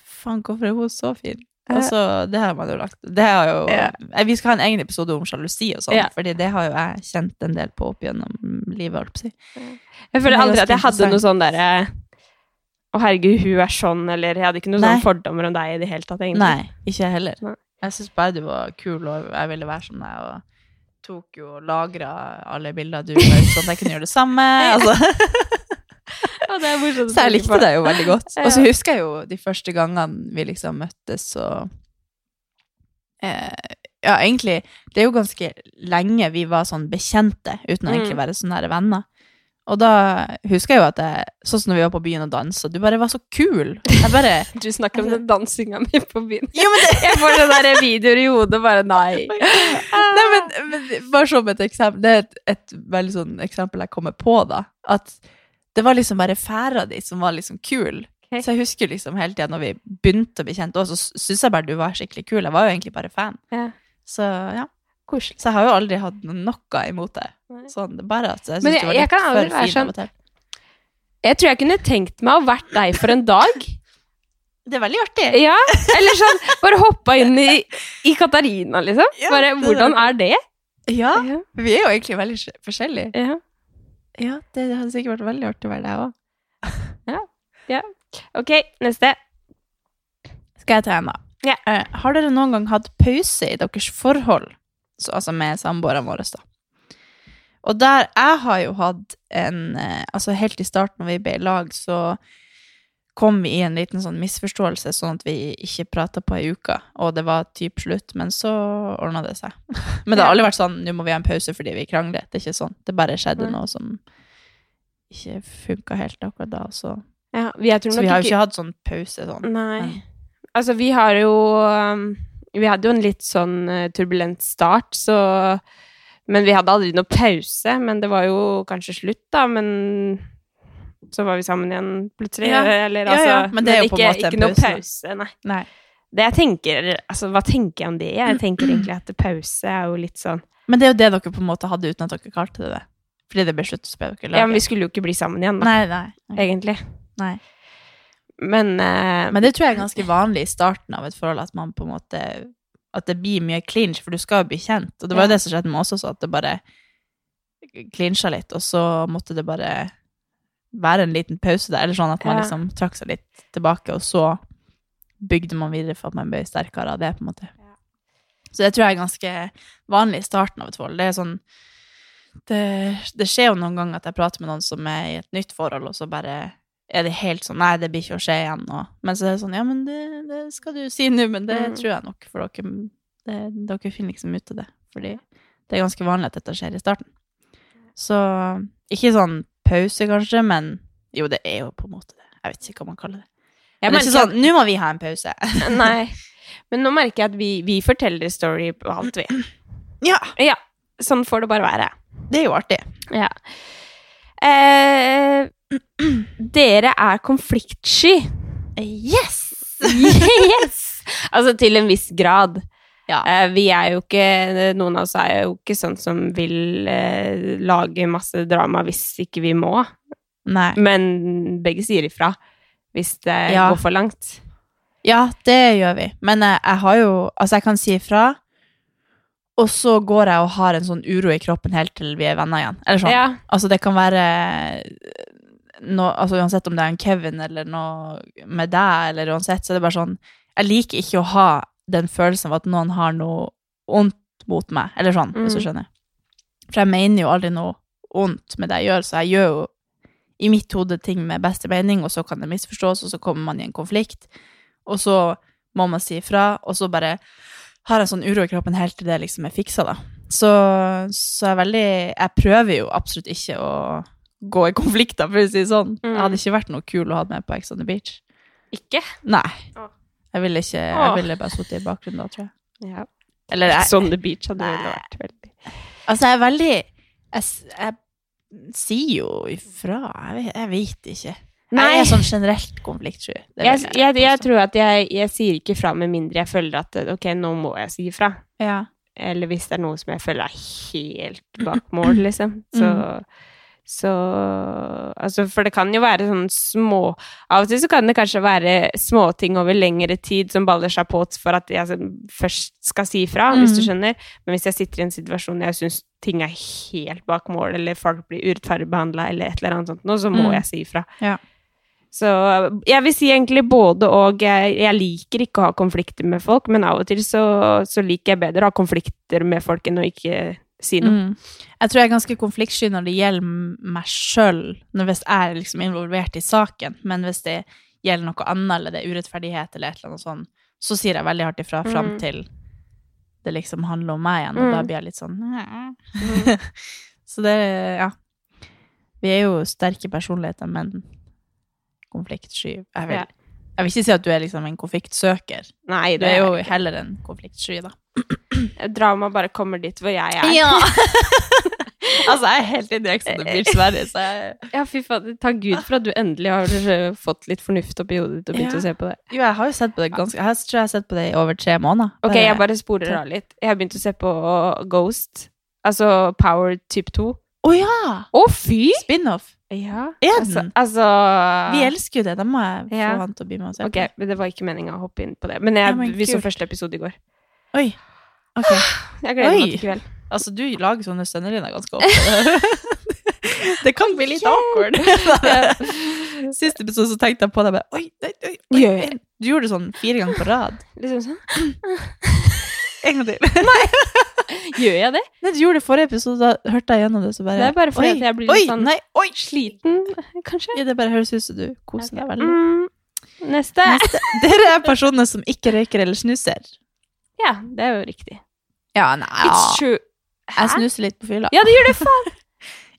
[SPEAKER 2] Faen, hvorfor er hun så fin?
[SPEAKER 1] Ja.
[SPEAKER 2] Og så, det har man jo lagt det har jo,
[SPEAKER 1] Ja.
[SPEAKER 2] eh, Vi skal ha en egen episode om sjalusi og sånn,
[SPEAKER 1] Ja.
[SPEAKER 2] Fordi det har jo jeg kjent en del på opp gjennom livet. holdt på å si.
[SPEAKER 1] Jeg føler
[SPEAKER 2] Men det er
[SPEAKER 1] aldri
[SPEAKER 2] ganske
[SPEAKER 1] at jeg hadde noe
[SPEAKER 2] interessant.
[SPEAKER 1] sånn derre Å, herregud, hun er sånn, eller Jeg hadde ikke noen
[SPEAKER 2] Nei.
[SPEAKER 1] sånne fordommer om deg i det hele tatt, egentlig.
[SPEAKER 2] Nei, ikke jeg heller.
[SPEAKER 1] Nei.
[SPEAKER 2] Jeg syns bare du var kul, og jeg ville være som deg. Og tok jo og lagra alle bilder du la ut, sånn at jeg kunne gjøre det samme.
[SPEAKER 1] *laughs*
[SPEAKER 2] Altså.
[SPEAKER 1] Ja, det er morsomt å
[SPEAKER 2] Så jeg
[SPEAKER 1] tenke på.
[SPEAKER 2] likte deg jo veldig *laughs* godt.
[SPEAKER 1] Ja.
[SPEAKER 2] Og så husker jeg jo de første gangene vi liksom møttes, så eh, Ja, egentlig, det er jo ganske lenge vi var sånn bekjente, uten å
[SPEAKER 1] Mm.
[SPEAKER 2] egentlig være så nære venner. Og da husker jeg jo at jeg, sånn som når vi var på byen og dansa, du bare var så kul. Jeg bare
[SPEAKER 1] *laughs* Du snakker om den dansinga mi på byen.
[SPEAKER 2] *laughs* Jo, men det
[SPEAKER 1] Jeg får sånne der videoer i hodet, bare
[SPEAKER 2] *laughs*
[SPEAKER 1] nei.
[SPEAKER 2] Nei, men, men bare som et eksempel Det er et, et veldig sånn eksempel jeg kommer på da At det var liksom bare færa di som var liksom kul
[SPEAKER 1] Ok.
[SPEAKER 2] Så jeg husker liksom hele tiden når vi begynte å bli kjent også, Så synes jeg bare du var skikkelig kul Jeg var jo egentlig bare fan
[SPEAKER 1] Ja.
[SPEAKER 2] Så ja,
[SPEAKER 1] Koselig.
[SPEAKER 2] så jeg har jo aldri hatt noe imot det
[SPEAKER 1] Nei.
[SPEAKER 2] Sånn, det er bare at jeg
[SPEAKER 1] Men
[SPEAKER 2] synes
[SPEAKER 1] jeg-
[SPEAKER 2] du var
[SPEAKER 1] jeg
[SPEAKER 2] litt
[SPEAKER 1] kan aldri
[SPEAKER 2] for
[SPEAKER 1] være
[SPEAKER 2] fin
[SPEAKER 1] sånn-
[SPEAKER 2] av og til
[SPEAKER 1] Jeg tror jeg kunne tenkt meg å vært deg for en dag.
[SPEAKER 2] Det er veldig artig
[SPEAKER 1] Ja, Eller sånn bare hoppa inn i, i Katarina, liksom.
[SPEAKER 2] Ja,
[SPEAKER 1] Bare
[SPEAKER 2] det-
[SPEAKER 1] hvordan er det?
[SPEAKER 2] Ja,
[SPEAKER 1] Ja,
[SPEAKER 2] vi er jo egentlig veldig skje- forskjellige
[SPEAKER 1] ja.
[SPEAKER 2] Ja, det hadde sikkert vært veldig artig å være deg også
[SPEAKER 1] Ok, neste.
[SPEAKER 2] Skal jeg ta en, da?
[SPEAKER 1] Ja.
[SPEAKER 2] Eh, har dere noen gang hatt pause i deres forhold? Så, altså med samboerne våre, da. Og der Jeg har jo hatt en eh, Altså helt i starten når vi ble i lag, så kom vi i en liten sånn misforståelse, sånn at vi ikke prata på ei uke, og det var typ slutt, men så ordna det seg. *laughs* men det har aldri vært sånn 'nå må vi ha en pause fordi vi krangler'. Det er ikke sånn. Det bare skjedde
[SPEAKER 1] Nei.
[SPEAKER 2] noe som ikke funka helt akkurat da, så
[SPEAKER 1] Ja, vi, jeg tror
[SPEAKER 2] Så
[SPEAKER 1] nok Mm.
[SPEAKER 2] vi har jo ikke hatt sånn pause sånn.
[SPEAKER 1] Nei.
[SPEAKER 2] Men-
[SPEAKER 1] Altså, vi har jo um, Vi hadde jo en litt sånn eh, turbulent start, så Men vi hadde aldri noe pause. Men det var jo kanskje slutt, da. Men så var vi sammen igjen plutselig.
[SPEAKER 2] Ja.
[SPEAKER 1] Eller
[SPEAKER 2] Ja,
[SPEAKER 1] altså
[SPEAKER 2] ja, men det er jo på en
[SPEAKER 1] ikke,
[SPEAKER 2] måte en
[SPEAKER 1] ikke noe
[SPEAKER 2] pause, da.
[SPEAKER 1] pause. Nei.
[SPEAKER 2] Nei.
[SPEAKER 1] Det jeg tenker, altså, hva tenker jeg om det? Jeg tenker egentlig at pause er jo litt sånn
[SPEAKER 2] Men det er jo det dere på en måte hadde uten at dere kalte det det. Fordi det ble slutt, så ble dere laget.
[SPEAKER 1] Ja, men vi skulle jo ikke bli sammen igjen, da.
[SPEAKER 2] Nei, nei.
[SPEAKER 1] Egentlig.
[SPEAKER 2] nei.
[SPEAKER 1] Men, eh,
[SPEAKER 2] Men det tror jeg er ganske vanlig i starten av et forhold, at man på en måte At det blir mye clinch, for du skal jo bli kjent. Og det var jo
[SPEAKER 1] Ja.
[SPEAKER 2] det som skjedde med oss også, at det bare clinsja litt, og så måtte det bare være en liten pause der, eller sånn at man
[SPEAKER 1] Ja.
[SPEAKER 2] liksom trakk seg litt tilbake, og så bygde man videre for at man ble sterkere av det, på en måte. Så det tror jeg er ganske vanlig i starten av et forhold. Det er sånn det, det skjer jo noen ganger at jeg prater med noen som er i et nytt forhold, og så bare er det helt sånn Nei, det blir ikke å skje igjen. Og, men så er det sånn Ja, men det, det skal du si nå, men det
[SPEAKER 1] Mm.
[SPEAKER 2] tror jeg nok, for dere, det, dere finner liksom ut av det. Fordi det er ganske vanlig at dette skjer i starten. Så ikke sånn pause, kanskje, men jo, det er jo på en måte det. Jeg vet ikke hva man kaller det.
[SPEAKER 1] jeg
[SPEAKER 2] men det er
[SPEAKER 1] merker
[SPEAKER 2] ikke sånn Nå må vi ha en pause.
[SPEAKER 1] *laughs* Nei. Men nå merker jeg at vi, vi forteller story på alt, vi.
[SPEAKER 2] ja,
[SPEAKER 1] Ja, sånn får det bare være.
[SPEAKER 2] det er jo artig.
[SPEAKER 1] Ja. Eh, *clears throat* dere er konfliktsky.
[SPEAKER 2] Yes!
[SPEAKER 1] Yes! Altså til en viss grad.
[SPEAKER 2] Ja.
[SPEAKER 1] Eh, vi er jo ikke Noen av oss er jo ikke sånn som vil eh, lage masse drama hvis ikke vi må.
[SPEAKER 2] Nei.
[SPEAKER 1] Men begge sier ifra hvis det
[SPEAKER 2] Ja.
[SPEAKER 1] går for langt.
[SPEAKER 2] Ja, det gjør vi. Men eh, jeg, jeg har jo Altså, jeg kan si ifra, og så går jeg og har en sånn uro i kroppen helt til vi er venner igjen. Eller sånn.
[SPEAKER 1] Ja.
[SPEAKER 2] Altså, det kan være no, altså, Uansett om det er en Kevin eller noe med deg, eller uansett, så er det bare sånn Jeg liker ikke å ha den følelsen av at noen har noe ondt mot meg, eller sånn, hvis du
[SPEAKER 1] Mm.
[SPEAKER 2] skjønner. For jeg mener jo aldri noe ondt med det jeg gjør, så jeg gjør jo i mitt hode ting med beste mening, og så kan det misforstås, og så kommer man i en konflikt, og så må man si ifra, og så bare har jeg sånn uro i kroppen helt til det liksom er fiksa, da. Så, så jeg er veldig Jeg prøver jo absolutt ikke å gå i konflikter, for å si det sånn.
[SPEAKER 1] Mm.
[SPEAKER 2] Jeg hadde ikke vært noe kul å ha med på Ex on the Beach.
[SPEAKER 1] Ikke?
[SPEAKER 2] Nei.
[SPEAKER 1] Åh.
[SPEAKER 2] Jeg ville ikke Jeg
[SPEAKER 1] Åh.
[SPEAKER 2] ville bare sittet i bakgrunnen da, tror jeg.
[SPEAKER 1] Ja.
[SPEAKER 2] Eller jeg
[SPEAKER 1] Sånn The Beach hadde
[SPEAKER 2] Nei.
[SPEAKER 1] jo vært veldig
[SPEAKER 2] Altså, jeg er veldig Jeg, s- jeg sier jo ifra. Jeg vet, jeg vet ikke. Jeg er sånn generelt konfliktsky. Det vil
[SPEAKER 1] jeg, jeg, jeg
[SPEAKER 2] påstå.
[SPEAKER 1] tror at jeg, jeg sier ikke fra med mindre jeg føler at ok, nå må jeg si ifra.
[SPEAKER 2] ja.
[SPEAKER 1] Eller hvis det er noe som jeg føler er helt
[SPEAKER 2] *clears throat*
[SPEAKER 1] bak mål, liksom. Så,
[SPEAKER 2] Mm.
[SPEAKER 1] så Altså, for det kan jo være sånn små Av og til så kan det kanskje være småting over lengre tid som baller seg på for at jeg altså, først skal si fra, hvis
[SPEAKER 2] Mm.
[SPEAKER 1] du skjønner. Men hvis jeg sitter i en situasjon der jeg syns ting er helt bak mål, eller folk blir urettferdig behandla, eller et eller annet sånt, nå, så må
[SPEAKER 2] Mm.
[SPEAKER 1] jeg si fra.
[SPEAKER 2] Ja.
[SPEAKER 1] Så jeg vil si egentlig både og. Jeg, jeg liker ikke å ha konflikter med folk, men av og til så, så liker jeg bedre å ha konflikter med folk enn å ikke si noe.
[SPEAKER 2] Mm. Jeg tror jeg er ganske konfliktsky når det gjelder m- meg sjøl, hvis jeg er liksom involvert i saken. Men hvis det gjelder noe annet, eller det er urettferdighet, eller et eller annet sånt, så sier jeg veldig hardt ifra fram
[SPEAKER 1] Mm.
[SPEAKER 2] til det liksom handler om meg igjen, og
[SPEAKER 1] Mm.
[SPEAKER 2] da blir jeg litt sånn *laughs* Så det, ja. Vi er jo sterke personligheter, men konfliktsky jeg vil,
[SPEAKER 1] Ja.
[SPEAKER 2] jeg vil ikke si at du er liksom en konfliktsøker.
[SPEAKER 1] Nei,
[SPEAKER 2] Du
[SPEAKER 1] Mm. det
[SPEAKER 2] er jo
[SPEAKER 1] er
[SPEAKER 2] heller en konfliktsky, da.
[SPEAKER 1] Drama bare kommer dit hvor jeg er.
[SPEAKER 2] *laughs* altså, jeg er helt i direkte som det blir Sverige, så jeg
[SPEAKER 1] Ja, fy faen. Takk Gud for at du endelig har eh, fått litt fornuft oppi hodet ditt og begynt
[SPEAKER 2] Ja.
[SPEAKER 1] å se på det.
[SPEAKER 2] Jo, jeg har jo sett på det ganske Jeg tror jeg har sett på det i over tre måneder.
[SPEAKER 1] Ok, jeg bare sporer av litt. Jeg har begynt å se på Ghost. Altså Power type 2.
[SPEAKER 2] Å ja!
[SPEAKER 1] Å, fy!
[SPEAKER 2] Spin-off.
[SPEAKER 1] Ja.
[SPEAKER 2] Er
[SPEAKER 1] Altså,
[SPEAKER 2] den?
[SPEAKER 1] altså
[SPEAKER 2] Vi elsker jo det. Da må jeg få
[SPEAKER 1] Ja.
[SPEAKER 2] han til å bli med og se
[SPEAKER 1] Ok, men det var ikke meninga å hoppe inn på det. Men jeg,
[SPEAKER 2] Ja, men
[SPEAKER 1] vi så
[SPEAKER 2] kult.
[SPEAKER 1] første episode i går.
[SPEAKER 2] på det. Oi. *gasps* Ok.
[SPEAKER 1] Jeg gleder
[SPEAKER 2] Oi.
[SPEAKER 1] meg til i kveld.
[SPEAKER 2] Altså, du lager sånne sønnerlinjer ganske ofte. *laughs* det kan bli litt *laughs* awkward. Siste episode så tenkte jeg på det. jeg Bare, oi, oi, oi, oi.
[SPEAKER 1] Gjør jeg?
[SPEAKER 2] Du gjorde det sånn fire ganger på rad.
[SPEAKER 1] *laughs* Liksom sånn.
[SPEAKER 2] En gang til. Nei.
[SPEAKER 1] Gjør jeg det?
[SPEAKER 2] du gjorde det forrige episode, da hørte jeg gjennom det, så bare
[SPEAKER 1] Det er bare fordi
[SPEAKER 2] oi,
[SPEAKER 1] at jeg blir litt
[SPEAKER 2] oi,
[SPEAKER 1] sånn-
[SPEAKER 2] Nei, oi,
[SPEAKER 1] Sliten, Mm, kanskje?
[SPEAKER 2] Ja, Det bare høres ut som du koser deg veldig.
[SPEAKER 1] Mm, neste.
[SPEAKER 2] Neste. *laughs* Dere er personer som ikke røyker eller snuser.
[SPEAKER 1] Ja, det er jo riktig.
[SPEAKER 2] Ja, nei
[SPEAKER 1] It's true.
[SPEAKER 2] Jeg snuser litt på fylla.
[SPEAKER 1] Ja, det gjør det, faen!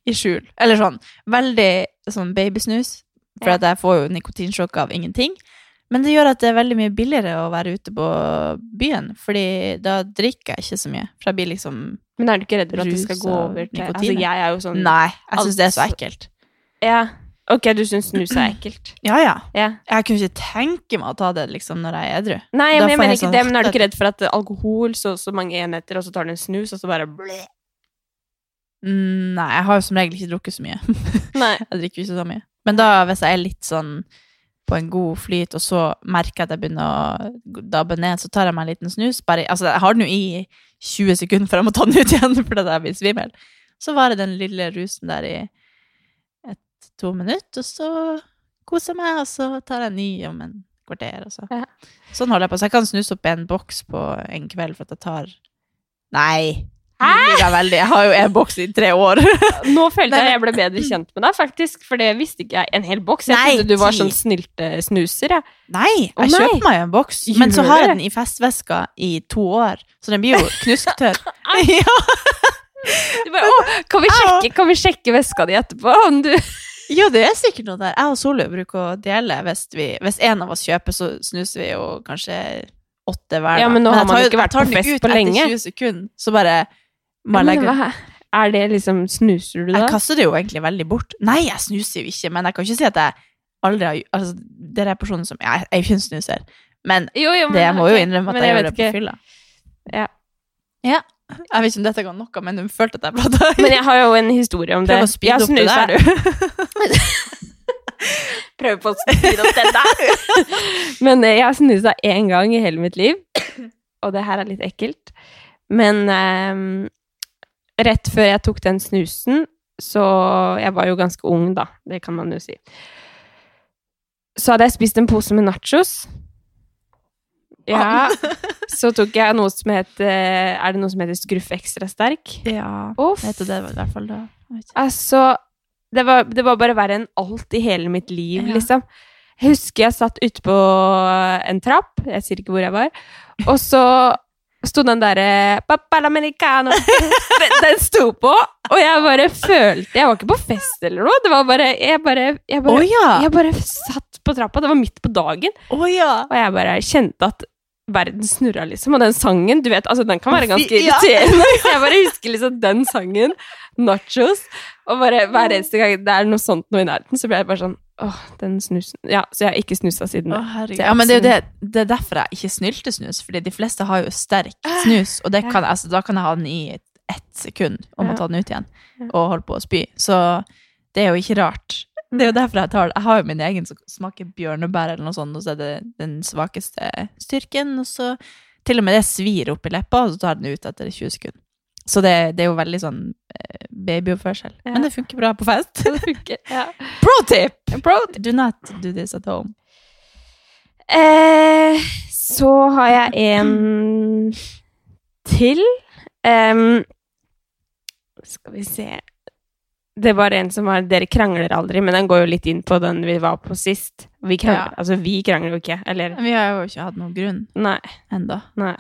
[SPEAKER 2] I skjul. Eller sånn veldig sånn babysnus, for
[SPEAKER 1] Ja.
[SPEAKER 2] at jeg får jo nikotinsjokk av ingenting. Men det gjør at det er veldig mye billigere å være ute på byen, fordi da drikker jeg ikke så mye. For jeg blir liksom
[SPEAKER 1] Men er du ikke redd for at det
[SPEAKER 2] Rus
[SPEAKER 1] skal gå
[SPEAKER 2] og
[SPEAKER 1] over til
[SPEAKER 2] nikotin,
[SPEAKER 1] Altså,
[SPEAKER 2] ja.
[SPEAKER 1] jeg er jo sånn
[SPEAKER 2] Nei, jeg syns det er så
[SPEAKER 1] Altså-
[SPEAKER 2] ekkelt.
[SPEAKER 1] Ja. Ok, du syns snus er ekkelt.
[SPEAKER 2] Ja, ja.
[SPEAKER 1] Ja.
[SPEAKER 2] Jeg kunne ikke tenke meg å ta det liksom når jeg er edru.
[SPEAKER 1] Nei,
[SPEAKER 2] Da
[SPEAKER 1] men jeg
[SPEAKER 2] får
[SPEAKER 1] mener
[SPEAKER 2] jeg
[SPEAKER 1] ikke
[SPEAKER 2] sånn-
[SPEAKER 1] det, men er du ikke redd for at eh, alkohol så så mange enheter, og så tar du en snus, og så bare bleh.
[SPEAKER 2] Mm, Nei, jeg har jo som regel ikke drukket så mye.
[SPEAKER 1] Nei.
[SPEAKER 2] Jeg drikker jo ikke så mye. Men da, hvis jeg er litt sånn på en god flyt, og så merker jeg at jeg begynner å dabbe ned, så tar jeg meg en liten snus. Bare, altså, jeg har den jo i 20 sekunder før jeg må ta den ut igjen, *laughs* fordi jeg blir svimmel. Så varer den lille rusen der i et, to minutter, og så koser jeg meg, og så tar jeg en ny om en kvarter. Og så.
[SPEAKER 1] Ja.
[SPEAKER 2] Sånn holder jeg på. Så jeg kan snuse opp en boks på en kveld, for at jeg tar Nei!
[SPEAKER 1] Hæ?
[SPEAKER 2] Jeg, liker veldig. jeg har jo en boks i tre år.
[SPEAKER 1] Nå følte
[SPEAKER 2] Nei,
[SPEAKER 1] jeg jeg ble bedre kjent med deg, faktisk, for det visste ikke jeg. En hel boks. Jeg
[SPEAKER 2] Nei,
[SPEAKER 1] trodde du var
[SPEAKER 2] ti.
[SPEAKER 1] sånn snyltesnuser, jeg.
[SPEAKER 2] Nei, jeg
[SPEAKER 1] Å, nei.
[SPEAKER 2] kjøper meg jo en boks,
[SPEAKER 1] Gjør
[SPEAKER 2] men så har
[SPEAKER 1] du?
[SPEAKER 2] jeg den i festveska i to år, så den blir *laughs* jo knusktørr. *laughs* ja,
[SPEAKER 1] Du bare, «Å, kan vi sjekke, kan vi sjekke veska di etterpå? Om du...
[SPEAKER 2] jo, det er sikkert noe der. Jeg og Solveig bruker å dele hvis, vi, hvis en av oss kjøper, så snuser vi jo kanskje åtte hver. da.
[SPEAKER 1] Ja, men nå har
[SPEAKER 2] jeg
[SPEAKER 1] man
[SPEAKER 2] tar
[SPEAKER 1] jo ikke vært
[SPEAKER 2] jeg tar
[SPEAKER 1] på
[SPEAKER 2] den
[SPEAKER 1] fest
[SPEAKER 2] ut
[SPEAKER 1] på lenge.
[SPEAKER 2] Etter 20 sekunder, så bare må jeg
[SPEAKER 1] Men
[SPEAKER 2] legge
[SPEAKER 1] hva Er det liksom Snuser du da?
[SPEAKER 2] Jeg kaster det jo egentlig veldig bort. Nei, jeg snuser jo ikke, men jeg kan ikke si at jeg aldri har Altså, dere er personen som Jeg er jo ikke en snuser, men
[SPEAKER 1] Jo, jo, men-
[SPEAKER 2] det jeg må jo
[SPEAKER 1] ok,
[SPEAKER 2] innrømme at
[SPEAKER 1] men
[SPEAKER 2] jeg,
[SPEAKER 1] vet
[SPEAKER 2] gjør det på
[SPEAKER 1] ikke.
[SPEAKER 2] fylla.
[SPEAKER 1] Ja.
[SPEAKER 2] Ja. Jeg vet ikke om dette ga noe, men hun følte at jeg prata.
[SPEAKER 1] *laughs* Men jeg har jo en historie om det.
[SPEAKER 2] *laughs* Prøv å speede opp det der, *laughs*
[SPEAKER 1] Prøv på å speede opp det der. Men eh, jeg har snusa én gang i hele mitt liv, og det her er litt ekkelt. Men ehm, rett før jeg tok den snusen, så Jeg var jo ganske ung, da. Det kan man jo si. Så hadde jeg spist en pose med nachos. Ja. Så tok jeg noe som het eh, Er det noe som heter Skruff ekstra sterk?
[SPEAKER 2] Ja.
[SPEAKER 1] Å,
[SPEAKER 2] Jeg vet jo det i hvert fall da. Jeg vet ikke.
[SPEAKER 1] Altså, det var, det var bare verre enn alt i hele mitt liv,
[SPEAKER 2] Ja.
[SPEAKER 1] liksom. Jeg husker jeg satt ute på en trapp, jeg sier ikke hvor jeg var, og så sto den derre «Pappa l'americano», den, den sto på, og jeg bare følte Jeg var ikke på fest eller noe, det var bare Jeg bare, jeg
[SPEAKER 2] Å
[SPEAKER 1] bare,
[SPEAKER 2] ja!
[SPEAKER 1] jeg bare satt på trappa, det var midt på dagen,
[SPEAKER 2] Å ja!
[SPEAKER 1] og jeg bare kjente at verden snurra, liksom. Og den sangen, du vet, altså den kan være ganske
[SPEAKER 2] Ja.
[SPEAKER 1] irriterende. *laughs* Så jeg bare husker liksom den sangen, nachos, og bare hver eneste gang det er noe sånt noe i nærheten, så blir jeg bare sånn Åh, den snusen Ja, så jeg har ikke snusa siden
[SPEAKER 2] Å,
[SPEAKER 1] det. *laughs*
[SPEAKER 2] herregud. Ja, men det er jo det, det er derfor jeg ikke snylte snus, fordi de fleste har jo sterk snus, og det kan, altså, da kan jeg ha den i ett sekund og må
[SPEAKER 1] Ja.
[SPEAKER 2] ta den ut igjen og holde på å spy. Så det er jo ikke rart. Det er jo derfor jeg tar det. Jeg har jo min egen som smaker bjørnebær eller noe sånt, og så er det den svakeste styrken, og så til og med det svir opp i leppa, og så tar jeg den ut etter 20 sekunder. Så det, det er jo veldig sånn eh, babyoppførsel.
[SPEAKER 1] Ja.
[SPEAKER 2] Men det funker bra på *laughs* fest.
[SPEAKER 1] Det funker. Ja.
[SPEAKER 2] Pro tip! Do not do this at home.
[SPEAKER 1] Eh, så har jeg en til. Em, skal vi se Det var en som var Dere krangler aldri, men den går jo litt inn på den vi var på sist. Vi krangler,
[SPEAKER 2] Ja.
[SPEAKER 1] altså, vi krangler jo ikke. Eller
[SPEAKER 2] Vi har jo ikke hatt noen grunn
[SPEAKER 1] Nei. *laughs*
[SPEAKER 2] enda.
[SPEAKER 1] Nei.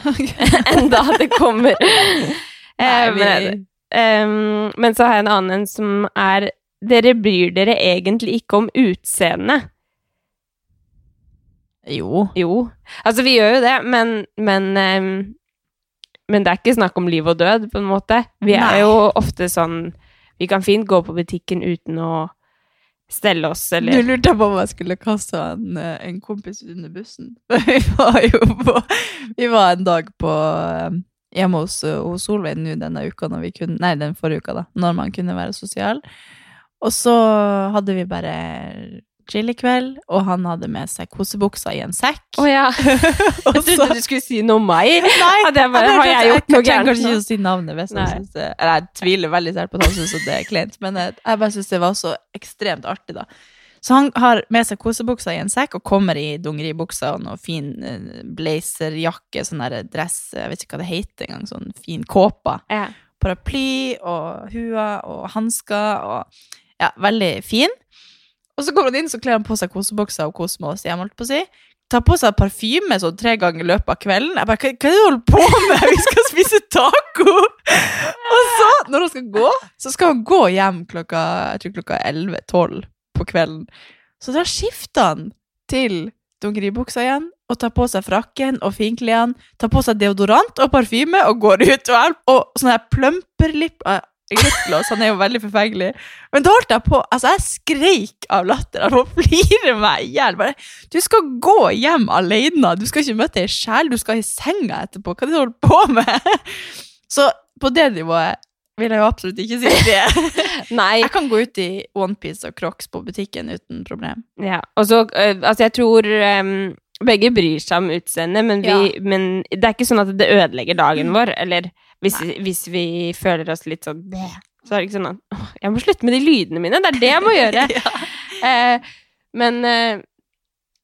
[SPEAKER 1] Enda det kommer.
[SPEAKER 2] Nei,
[SPEAKER 1] Eh,
[SPEAKER 2] vi-
[SPEAKER 1] men, ehm, men så har jeg en annen en som er Dere bryr dere egentlig ikke om utseendet.
[SPEAKER 2] Jo.
[SPEAKER 1] Jo. Altså, vi gjør jo det, men Men, ehm, men det er ikke snakk om liv og død, på en måte. Vi er
[SPEAKER 2] Nei.
[SPEAKER 1] jo ofte sånn Vi kan fint gå på butikken uten å stelle oss, eller
[SPEAKER 2] Du lurte på om jeg skulle kaste en, eh, en kompis under bussen. *laughs* Vi var jo på Vi var en dag på eh, hjemme hos, eh, hos Solveig nå denne uka, når vi kunne, nei, den forrige uka, da, når man kunne være sosial. Og så hadde vi bare chillekveld, og han hadde med seg kosebuksa i en sekk.
[SPEAKER 1] Å ja.
[SPEAKER 2] *laughs* Og
[SPEAKER 1] Jeg trodde
[SPEAKER 2] så-
[SPEAKER 1] du skulle si noe om meg.
[SPEAKER 2] *laughs* Nei,
[SPEAKER 1] At jeg bare,
[SPEAKER 2] jeg
[SPEAKER 1] har
[SPEAKER 2] vet
[SPEAKER 1] jeg
[SPEAKER 2] ikke,
[SPEAKER 1] gjort noe
[SPEAKER 2] trenger
[SPEAKER 1] gærent
[SPEAKER 2] kanskje
[SPEAKER 1] nå?
[SPEAKER 2] ikke å si navnet hvis han
[SPEAKER 1] Nei.
[SPEAKER 2] synes det Eller jeg tviler veldig sterkt på at han synes at det er kleint, men jeg, jeg bare synes det var så ekstremt artig, da. Så han har med seg kosebuksa i en sekk og kommer i dongeribuksa og noe fin eh, blazerjakke, sånn der dress, jeg vet ikke hva det heter engang, sånn fin kåpa
[SPEAKER 1] Ja.
[SPEAKER 2] paraply og hua og hansker og Ja, veldig fin. Og så går han inn, så kler han på seg kosebokser og koser med oss hjemme, holdt på å si. Tar på seg parfyme sånn tre ganger i løpet av kvelden. Jeg bare, hva, hva er det du holder på med? *laughs* Vi skal spise taco! Og så, når han skal gå, så skal han gå hjem klokka jeg tror klokka 11-12 på kvelden. Så da skifter han til dongeribuksa igjen, og tar på seg frakken og finklærne, tar på seg deodorant og parfyme og går ut. Og, er- og sånn her plumperlipp eh, Lipgloss, han er jo veldig forfengelig. Men da holdt jeg på Altså, jeg skreik av latter. Jeg må flire meg i hjel. Bare, Du skal gå hjem alene. Du skal ikke møte ei sjel. Du skal i senga etterpå. Hva er det du holder på med? Så på det nivået vil jeg jo absolutt ikke si det.
[SPEAKER 1] Nei.
[SPEAKER 2] Jeg kan gå ut i onepiece og crocs på butikken uten problem.
[SPEAKER 1] Ja, og så, eh, altså jeg tror em, begge bryr seg om utseendet, men, vi,
[SPEAKER 2] Ja. Mm.
[SPEAKER 1] men det er ikke sånn at det ødelegger dagen vår, eller hvis, hvis vi føler oss litt sånn, bleh, så er det ikke sånn at, åh, jeg må slutte med de lydene mine, det er det jeg må
[SPEAKER 2] *laughs*
[SPEAKER 1] gjøre. eh, men, eh,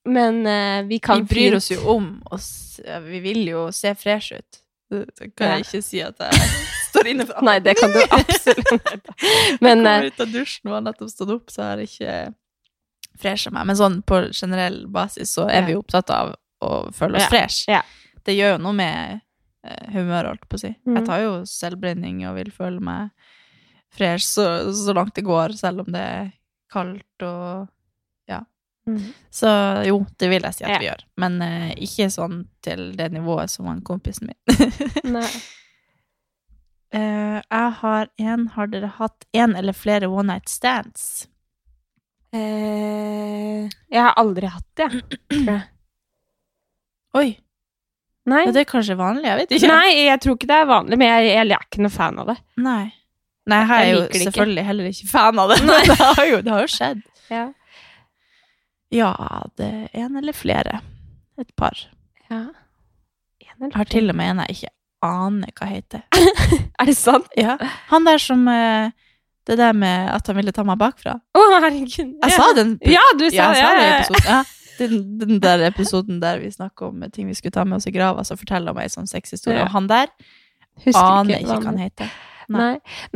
[SPEAKER 1] men eh, vi
[SPEAKER 2] Vi
[SPEAKER 1] kan
[SPEAKER 2] bryr
[SPEAKER 1] fint-
[SPEAKER 2] oss jo om oss. Vi vil jo se fresh ut. Det kan jeg
[SPEAKER 1] Ja.
[SPEAKER 2] ikke si at jeg står inne
[SPEAKER 1] *laughs*
[SPEAKER 2] for.
[SPEAKER 1] Nei, det kan
[SPEAKER 2] *laughs*
[SPEAKER 1] du absolutt. Men, eh,
[SPEAKER 2] Kommer ut av dusjen og har nettopp stått opp, så har jeg ikke fresha meg. Men sånn på generell basis så er
[SPEAKER 1] Ja.
[SPEAKER 2] vi jo opptatt av å føle oss
[SPEAKER 1] Ja.
[SPEAKER 2] fresh.
[SPEAKER 1] Ja.
[SPEAKER 2] Det gjør jo noe med eh, humøret, holdt på å si.
[SPEAKER 1] Mhm.
[SPEAKER 2] Jeg tar jo selvbrenning og vil føle meg fresh så, så langt det går, selv om det er kaldt og
[SPEAKER 1] Mhm.
[SPEAKER 2] Så jo, det vil jeg si at
[SPEAKER 1] Ja.
[SPEAKER 2] vi gjør. Men eh, ikke sånn til det nivået som han kompisen min.
[SPEAKER 1] Nei.
[SPEAKER 2] Eh, jeg har en Har dere hatt en eller flere one night stands?
[SPEAKER 1] Eh, jeg har aldri hatt det, jeg, tror jeg.
[SPEAKER 2] Oi,
[SPEAKER 1] Nei.
[SPEAKER 2] ja, det er kanskje vanlig? Jeg vet ikke.
[SPEAKER 1] Nei, jeg tror ikke det er vanlig, men jeg, jeg er ikke noe fan av det.
[SPEAKER 2] Nei. Nei, her er
[SPEAKER 1] Jeg
[SPEAKER 2] jo
[SPEAKER 1] liker det ikke.
[SPEAKER 2] selvfølgelig heller ikke fan av det. Men *laughs* det har jo, det har jo skjedd.
[SPEAKER 1] Ja.
[SPEAKER 2] Ja, det er en eller flere. Et par.
[SPEAKER 1] Ja. En
[SPEAKER 2] Jeg
[SPEAKER 1] eller
[SPEAKER 2] har til og med en jeg ikke aner hva heter.
[SPEAKER 1] Er det sant?
[SPEAKER 2] Ja. Han der som eh, Det der med at han ville ta meg bakfra.
[SPEAKER 1] Å, herregud.
[SPEAKER 2] Jeg sa den
[SPEAKER 1] Ja, du sa
[SPEAKER 2] Ja, jeg sa
[SPEAKER 1] ja,
[SPEAKER 2] det i
[SPEAKER 1] ja, ja.
[SPEAKER 2] episoden. Ja. *laughs* Den, den der episoden der vi snakker om ting vi skulle ta med oss i grava, så forteller han meg en sånn sexhistorie.
[SPEAKER 1] Ja.
[SPEAKER 2] Og han der
[SPEAKER 1] Husker
[SPEAKER 2] aner ikke
[SPEAKER 1] hva
[SPEAKER 2] hva han heter.
[SPEAKER 1] Nei.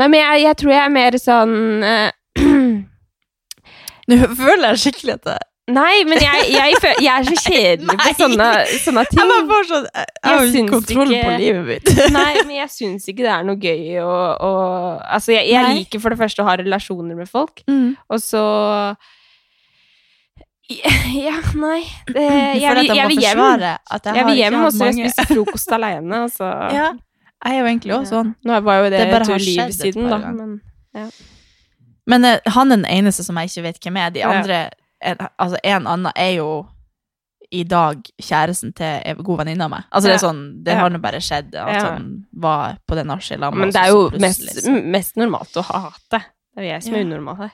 [SPEAKER 1] Nei, men jeg, jeg tror jeg er mer sånn eh, *clears throat*
[SPEAKER 2] Nå føler jeg skikkelig at jeg
[SPEAKER 1] Nei, men jeg, jeg, fø- jeg er så kjedelig på
[SPEAKER 2] *laughs* Nei.
[SPEAKER 1] sånne, sånne
[SPEAKER 2] Jeg bare
[SPEAKER 1] ting.
[SPEAKER 2] får sånn Jeg, jeg
[SPEAKER 1] Jeg
[SPEAKER 2] har jo
[SPEAKER 1] syns
[SPEAKER 2] ikke kontroll
[SPEAKER 1] ikke-
[SPEAKER 2] på livet *laughs* mitt.
[SPEAKER 1] Nei, men jeg syns ikke det er noe gøy å å- Altså, jeg, jeg
[SPEAKER 2] Nei.
[SPEAKER 1] liker for det første å ha relasjoner med folk,
[SPEAKER 2] *laughs* Mm.
[SPEAKER 1] og så *laughs* Ja, nei.
[SPEAKER 2] *clears throat*
[SPEAKER 1] Det, jeg,
[SPEAKER 2] Jeg, føler
[SPEAKER 1] vil- jeg
[SPEAKER 2] at
[SPEAKER 1] vil
[SPEAKER 2] jeg må
[SPEAKER 1] hjem.
[SPEAKER 2] forsvare at jeg,
[SPEAKER 1] Jeg
[SPEAKER 2] har
[SPEAKER 1] vil
[SPEAKER 2] ikke
[SPEAKER 1] hjem
[SPEAKER 2] hatt
[SPEAKER 1] og så vil jeg
[SPEAKER 2] mange-
[SPEAKER 1] spise frokost alene, altså. og så
[SPEAKER 2] *laughs* Ja, jeg er jo egentlig også sånn.
[SPEAKER 1] Nå var jo det,
[SPEAKER 2] Det bare
[SPEAKER 1] et
[SPEAKER 2] har skjedd
[SPEAKER 1] liv
[SPEAKER 2] et
[SPEAKER 1] siden,
[SPEAKER 2] par
[SPEAKER 1] da.
[SPEAKER 2] ganger.
[SPEAKER 1] Men,
[SPEAKER 2] Men eh, han er den eneste som jeg ikke vet hvem er. De
[SPEAKER 1] Ja.
[SPEAKER 2] andre en, altså en annen er jo i dag kjæresten til en god venninne av meg. Altså Det er
[SPEAKER 1] Ja.
[SPEAKER 2] sånn, det
[SPEAKER 1] Ja.
[SPEAKER 2] har nå bare skjedd at
[SPEAKER 1] Ja.
[SPEAKER 2] han var på det nachspielet. han var
[SPEAKER 1] Men
[SPEAKER 2] også,
[SPEAKER 1] det er
[SPEAKER 2] så
[SPEAKER 1] jo mest,
[SPEAKER 2] plutselig, liksom. så-
[SPEAKER 1] mest normalt å hate. Det er jo jeg som
[SPEAKER 2] Ja.
[SPEAKER 1] er unormal her.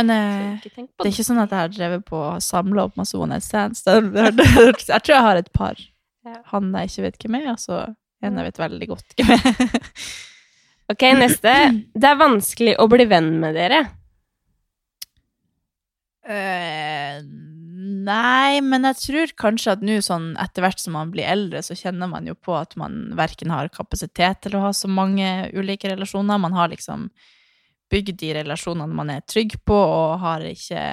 [SPEAKER 2] Men
[SPEAKER 1] Så
[SPEAKER 2] eh,
[SPEAKER 1] ikke tenk på
[SPEAKER 2] det er
[SPEAKER 1] det.
[SPEAKER 2] ikke sånn at jeg har drevet på å samle opp masse one night stands. Det har- det har- det har- Jeg tror jeg har et par.
[SPEAKER 1] Ja.
[SPEAKER 2] Han jeg ikke vet hvem er, og så en jeg vet veldig godt hvem er.
[SPEAKER 1] Ok, neste.
[SPEAKER 2] *clears throat*
[SPEAKER 1] Det er vanskelig å bli venn med dere.
[SPEAKER 2] Eh, nei, men jeg tror kanskje at nå sånn etter hvert som man blir eldre, så kjenner man jo på at man verken har kapasitet til å ha så mange ulike relasjoner. Man har liksom bygd de relasjonene man er trygg på, og har ikke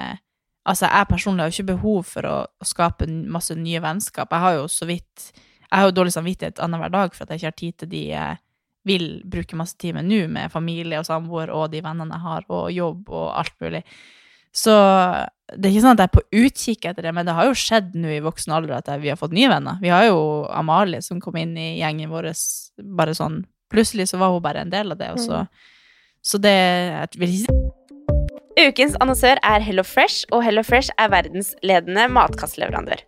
[SPEAKER 2] Altså, jeg personlig har jo ikke behov for å, å skape n- masse nye vennskap. Jeg har jo så vidt Jeg har jo dårlig samvittighet annenhver dag for at jeg ikke har tid til de jeg vil bruke masse tid med nå, med familie og samboer og de vennene jeg har, og jobb og alt mulig. Så det er ikke sånn at jeg er på utkikk etter det, men det har jo skjedd nå i voksen alder at jeg- vi har fått nye venner. Vi har jo Amalie som kom inn i gjengen vår bare sånn Plutselig så var hun bare en del av det, og så Så det jeg vil ikke si
[SPEAKER 1] Ukens annonsør er Hello Fresh, og Hello Fresh er verdensledende matkastleverandør.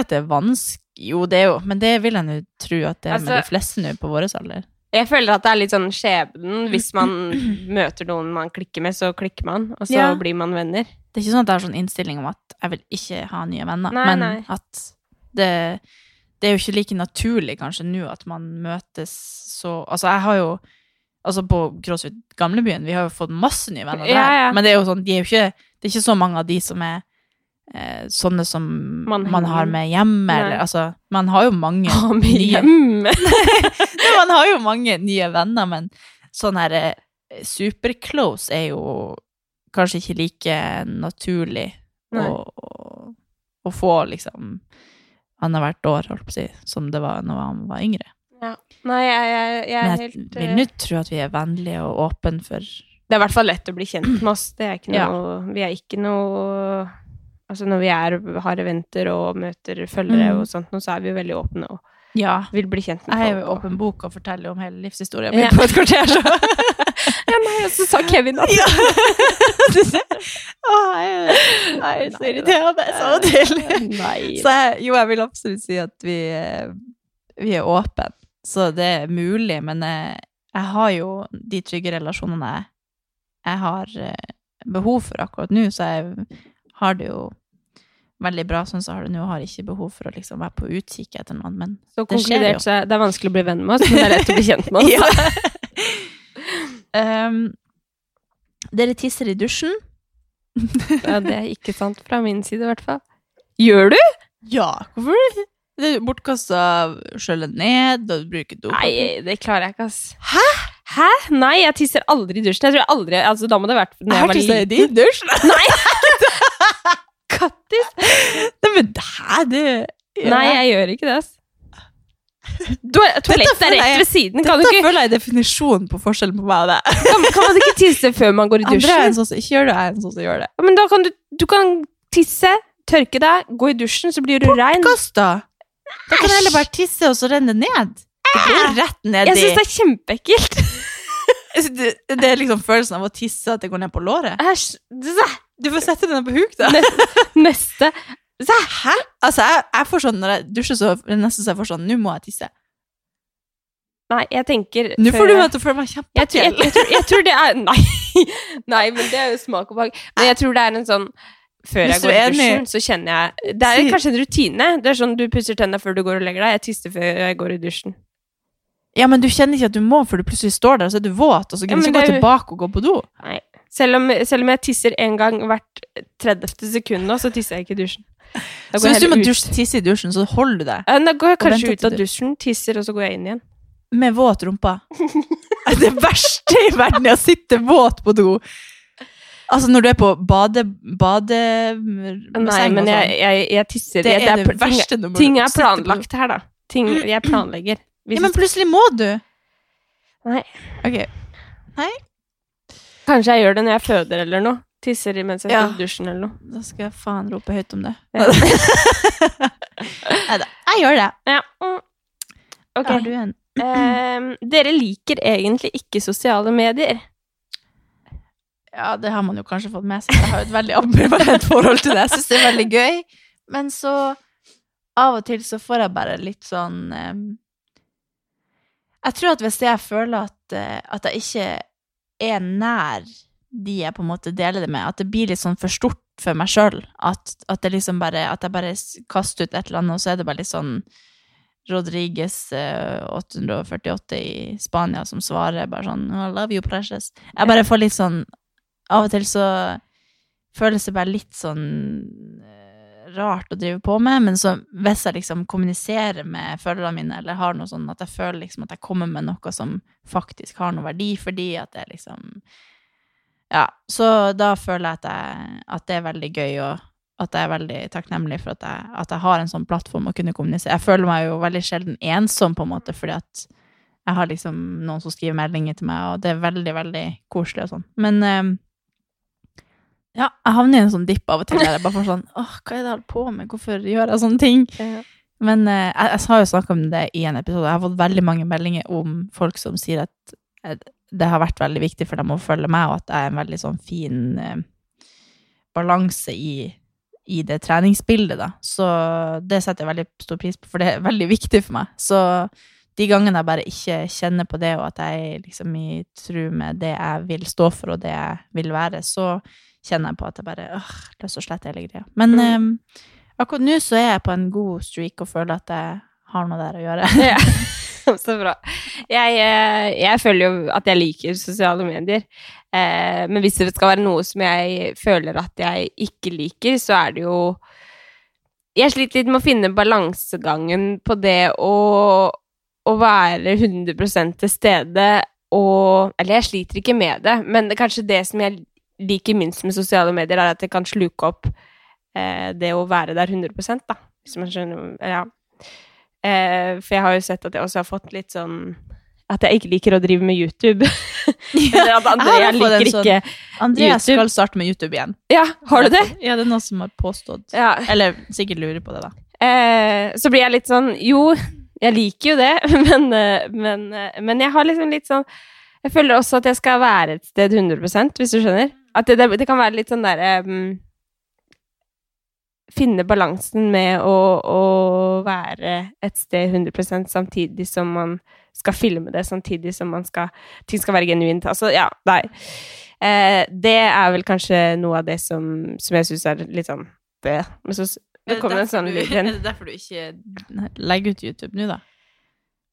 [SPEAKER 2] At det er vanskelig Jo, det er jo Men det vil jeg nå tro at det er med
[SPEAKER 1] Altså-
[SPEAKER 2] de fleste nå på vår alder.
[SPEAKER 1] Jeg føler at det er litt sånn
[SPEAKER 2] *clears throat*
[SPEAKER 1] skjebnen. Hvis man møter noen man klikker med, så klikker man, og så
[SPEAKER 2] Ja.
[SPEAKER 1] blir man venner.
[SPEAKER 2] Det er ikke sånn at jeg har sånn innstilling om at jeg vil ikke ha nye venner,
[SPEAKER 1] Nei,
[SPEAKER 2] men
[SPEAKER 1] nei.
[SPEAKER 2] at det, det er jo ikke like naturlig kanskje nå at man møtes så Altså, jeg har jo Altså, på CrossFit Gamlebyen, vi har jo fått masse nye venner der,
[SPEAKER 1] Ja, ja.
[SPEAKER 2] men det er jo sånn, de er jo ikke Det er ikke så mange av de som er eh, sånne som
[SPEAKER 1] Man
[SPEAKER 2] man,
[SPEAKER 1] henger
[SPEAKER 2] har
[SPEAKER 1] med.
[SPEAKER 2] med hjemme,
[SPEAKER 1] Nei.
[SPEAKER 2] eller altså Man har jo mange
[SPEAKER 1] *laughs*
[SPEAKER 2] nye
[SPEAKER 1] Hjem.
[SPEAKER 2] Nei, man har jo mange nye venner, men sånn her eh, superclose er jo kanskje ikke like naturlig
[SPEAKER 1] Nei.
[SPEAKER 2] å, å, å få, liksom, annethvert år, holdt på å si, som det var når han var yngre.
[SPEAKER 1] *laughs* Nei, jeg, jeg, jeg er
[SPEAKER 2] Men jeg
[SPEAKER 1] helt
[SPEAKER 2] vil
[SPEAKER 1] eh,
[SPEAKER 2] nå tro at vi er vennlige og åpne for
[SPEAKER 1] Det er i hvert fall lett å bli kjent med oss. Det er ikke
[SPEAKER 2] Ja.
[SPEAKER 1] noe, Vi er ikke noe Altså når vi er, har eventer og møter følgere
[SPEAKER 2] Mm.
[SPEAKER 1] og sånt, nå, så er vi jo veldig åpne og
[SPEAKER 2] Ja.
[SPEAKER 1] vil bli kjent med
[SPEAKER 2] Jeg er jo i
[SPEAKER 1] folk. og-
[SPEAKER 2] åpen bok og forteller om hele livshistorien min
[SPEAKER 1] Ja.
[SPEAKER 2] på et kvarter,
[SPEAKER 1] *laughs*
[SPEAKER 2] så
[SPEAKER 1] *laughs* Ja, nei, og så sa Kevin
[SPEAKER 2] *laughs*
[SPEAKER 1] at
[SPEAKER 2] Åh, jeg er- jeg er så irriterende sånn til.
[SPEAKER 1] Nei.
[SPEAKER 2] Så jeg, jo, jeg vil absolutt si at vi, eh, vi er åpne, så det er mulig, men jeg, jeg har jo de trygge relasjonene jeg, jeg har eh, behov for akkurat nå, så jeg har det jo veldig bra sånn som jeg har det nå, og har ikke behov for å liksom være på utkikk etter noen, men
[SPEAKER 1] Så
[SPEAKER 2] det skjer jo.
[SPEAKER 1] konkludert
[SPEAKER 2] *laughs*
[SPEAKER 1] så er det er vanskelig å bli venn med oss, men det er lett å bli kjent med oss. *laughs*
[SPEAKER 2] *laughs* Ehm, dere tisser i dusjen?
[SPEAKER 1] Ja, det er ikke sant fra min side i hvert fall. Gjør du?
[SPEAKER 2] Ja, hvorfor? Det er bortkasta skjølle ned, og du bruker do.
[SPEAKER 1] Nei, det klarer jeg ikke, ass. Hæ? Hæ? Nei, jeg tisser aldri i dusjen. Jeg tror jeg aldri, altså Da må det ha vært når jeg var liten.
[SPEAKER 2] din dusj. *laughs*
[SPEAKER 1] Nei! Kattis!
[SPEAKER 2] Nei, men det her, det
[SPEAKER 1] Nei, jeg gjør ikke det, ass. Du har- Toalett er
[SPEAKER 2] føler
[SPEAKER 1] rett
[SPEAKER 2] jeg-
[SPEAKER 1] ved siden. Kan, du
[SPEAKER 2] Dette
[SPEAKER 1] ikke,
[SPEAKER 2] føler jeg er definisjonen på forskjellen på meg og deg.
[SPEAKER 1] kan, kan man ikke tisse før man går i
[SPEAKER 2] Andre er en
[SPEAKER 1] dusjen?
[SPEAKER 2] sånn som ikke gjør det, og jeg er en sånn som gjør det.
[SPEAKER 1] Ja, Men da kan du, du kan tisse, tørke deg, gå i dusjen, så blir du rein.
[SPEAKER 2] Kast, da. Da kan jeg heller bare tisse, og så renner det ned. Det går rett ned
[SPEAKER 1] Jeg
[SPEAKER 2] i
[SPEAKER 1] syns det er kjempeekkelt.
[SPEAKER 2] Altså, *laughs* det, det er liksom følelsen av å tisse at det går ned på låret.
[SPEAKER 1] Æsj. Zæ.
[SPEAKER 2] Du får sette den på huk, da.
[SPEAKER 1] Neste.
[SPEAKER 2] Hæ? Altså, jeg, jeg får sånn, Når jeg dusjer, så er det nesten så jeg får sånn Nå må jeg tisse.
[SPEAKER 1] Nei, jeg tenker
[SPEAKER 2] Nå
[SPEAKER 1] før
[SPEAKER 2] får du
[SPEAKER 1] jeg-
[SPEAKER 2] meg til å føle meg
[SPEAKER 1] jeg tror, jeg,
[SPEAKER 2] kjempeaktuell.
[SPEAKER 1] jeg, tror, jeg tror det er Nei, *laughs* nei men det er jo smak og behag. Men jeg tror det er en sånn Før
[SPEAKER 2] Hvis
[SPEAKER 1] jeg
[SPEAKER 2] du
[SPEAKER 1] går i
[SPEAKER 2] er enig.
[SPEAKER 1] dusjen, så kjenner jeg Det er
[SPEAKER 2] Si-
[SPEAKER 1] kanskje en rutine. Det er sånn du pusser tennene før du går og legger deg. Jeg tisser før jeg går i dusjen.
[SPEAKER 2] Ja, men du kjenner ikke at du må, for du plutselig står der, og så er du våt, og så
[SPEAKER 1] Ja, men
[SPEAKER 2] kan du
[SPEAKER 1] det
[SPEAKER 2] ikke gå
[SPEAKER 1] er jo-
[SPEAKER 2] tilbake og gå på do.
[SPEAKER 1] Selv om, selv om jeg tisser en gang hvert 30. sekund nå, så tisser jeg ikke i dusjen. Da går
[SPEAKER 2] Så
[SPEAKER 1] jeg
[SPEAKER 2] hvis du må
[SPEAKER 1] heller ut.
[SPEAKER 2] dusje, tisse i dusjen, så holder du deg
[SPEAKER 1] Ja, Da går jeg
[SPEAKER 2] og
[SPEAKER 1] kanskje
[SPEAKER 2] venter
[SPEAKER 1] ut av
[SPEAKER 2] til du-
[SPEAKER 1] dusjen, tisser, og så går jeg inn igjen.
[SPEAKER 2] med våt rumpa. *laughs* det verste i verden er å sitte våt på do. Altså, når du er på bade... bade sånn.
[SPEAKER 1] Nei, men jeg, jeg, jeg tisser
[SPEAKER 2] Det
[SPEAKER 1] jeg-
[SPEAKER 2] er det
[SPEAKER 1] pl-
[SPEAKER 2] verste
[SPEAKER 1] ting,
[SPEAKER 2] nummeret.
[SPEAKER 1] ting
[SPEAKER 2] å
[SPEAKER 1] er
[SPEAKER 2] sitte på do.
[SPEAKER 1] planlagt her, da. Ting jeg planlegger. Hvis
[SPEAKER 2] Ja, men plutselig må du.
[SPEAKER 1] Nei.
[SPEAKER 2] Ok.
[SPEAKER 1] Kanskje jeg gjør det når jeg føder eller noe. Tisser mens jeg
[SPEAKER 2] Ja.
[SPEAKER 1] står i dusjen eller
[SPEAKER 2] *laughs*
[SPEAKER 1] noe.
[SPEAKER 2] Da skal jeg faen rope høyt om det. *laughs*
[SPEAKER 1] Ja.
[SPEAKER 2] Neida, jeg gjør det.
[SPEAKER 1] Ja. mm. Ok.
[SPEAKER 2] Har du en?
[SPEAKER 1] Ehm, dere liker egentlig ikke sosiale medier.
[SPEAKER 2] Ja, det har man jo kanskje fått med seg. Jeg har jo et veldig ambivalent forhold til det. Jeg syns det er veldig gøy. Men så av og til så får jeg bare litt sånn em, Jeg tror at hvis jeg føler at, eh, at jeg ikke er nær de jeg på en måte deler det med, at det blir litt sånn for stort for meg sjøl, at, at, det liksom bare- at jeg bare s- kaster ut et eller annet, og så er det bare litt sånn Rodriges eh, 848 i Spania som svarer bare sånn I love you, precious. Jeg bare får litt sånn Av og til så føles det bare litt sånn eh, rart å drive på med, men så hvis jeg liksom kommuniserer med følgerne mine, eller har noe sånn at jeg føler liksom at jeg kommer med noe som faktisk har noe verdi for de, at jeg liksom Ja, så da føler jeg at, jeg at det er veldig gøy, og at jeg er veldig takknemlig for at jeg, at jeg har en sånn plattform å kunne kommunisere. Jeg føler meg jo veldig sjelden ensom, på en måte, fordi at jeg har liksom noen som skriver meldinger til meg, og det er veldig, veldig koselig og sånn. Men ehm, ja, jeg havner i en sånn dipp av og til der jeg bare får sånn åh, hva er det jeg holder på med, hvorfor gjør jeg sånne ting? Men eh, jeg, jeg har jo snakket om det i en episode, jeg har fått veldig mange meldinger om folk som sier at eh, det har vært veldig viktig for dem å følge meg, og at jeg er en veldig sånn fin eh, balanse i, i det treningsbildet, da. Så det setter jeg veldig stor pris på, for det er veldig *laughs* viktig for meg. Så de gangene jeg bare ikke kjenner på det, og at jeg er liksom i tru med det jeg vil stå for, og det jeg vil være, så kjenner jeg på at jeg bare åh, løs og slett hele greia. Men eh, akkurat nå så er jeg på en god streak og føler at jeg har noe der å gjøre. *laughs*
[SPEAKER 1] Ja. *laughs* Så bra. Jeg, eh, jeg føler jo at jeg liker sosiale medier. Eh, men hvis det skal være noe som jeg føler at jeg ikke liker, så er det jo Jeg sliter litt med å finne balansegangen på det å, å være 100 til stede og Eller jeg sliter ikke med det, men det, kanskje det som jeg liker minst med sosiale medier, er at det kan sluke opp eh, det å være der 100 da. Hvis man skjønner Ja. Eh, for jeg har jo sett at jeg også har fått litt sånn At jeg ikke liker å drive med YouTube. *laughs* Eller at Andrea
[SPEAKER 2] jeg har fått en
[SPEAKER 1] liker
[SPEAKER 2] sånn-
[SPEAKER 1] ikke
[SPEAKER 2] Andreas
[SPEAKER 1] YouTube.
[SPEAKER 2] skal starte med YouTube igjen.
[SPEAKER 1] Ja, har du det?
[SPEAKER 2] Ja, det er noen som har påstått.
[SPEAKER 1] Ja.
[SPEAKER 2] Eller sikkert lurer på det, da.
[SPEAKER 1] Eh, så blir jeg litt sånn Jo, jeg liker jo det, *laughs* men, eh, men, eh, men jeg har liksom litt sånn Jeg føler også at jeg skal være et sted 100 hvis du skjønner. At det, det, det kan være litt sånn derre mm, Finne balansen med å, å være et sted 100 samtidig som man skal filme det, samtidig som man skal Ting skal være genuint. Altså, ja, nei. Eh, det er vel kanskje noe av det som, som jeg syns er litt sånn det. Men så, det kom en sånn lyd
[SPEAKER 2] *laughs*
[SPEAKER 1] igjen.
[SPEAKER 2] Er det derfor du ikke legger ut YouTube nå, da?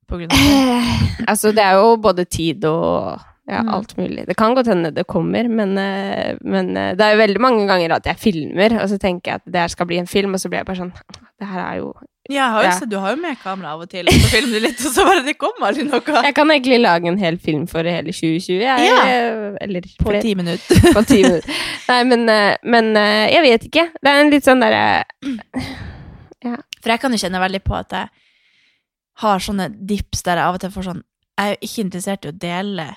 [SPEAKER 2] På grunn av det?
[SPEAKER 1] Eh, altså, det er jo både tid og ja,
[SPEAKER 2] Mm.
[SPEAKER 1] alt mulig. Det kan godt hende det kommer, men, eh, men eh, det er jo veldig mange ganger at jeg filmer, og så tenker jeg at det her skal bli en film, og så blir jeg bare sånn Det her er jo
[SPEAKER 2] *laughs* Ja, jeg har jo
[SPEAKER 1] Ja.
[SPEAKER 2] sett, du har jo med kamera av og til, og så filmer du litt, og så bare det kommer aldri noe.
[SPEAKER 1] Jeg kan egentlig lage en hel film for hele 2020. Jeg,
[SPEAKER 2] Ja.
[SPEAKER 1] eh, Eller
[SPEAKER 2] På
[SPEAKER 1] flere.
[SPEAKER 2] ti minutter.
[SPEAKER 1] *laughs* på ti minutter. Nei, men, eh, men eh, jeg vet ikke. Det er en litt sånn derre
[SPEAKER 2] *laughs* For jeg kan jo kjenne veldig på at jeg har sånne dips der jeg av og til får sånn Jeg er jo ikke interessert i å dele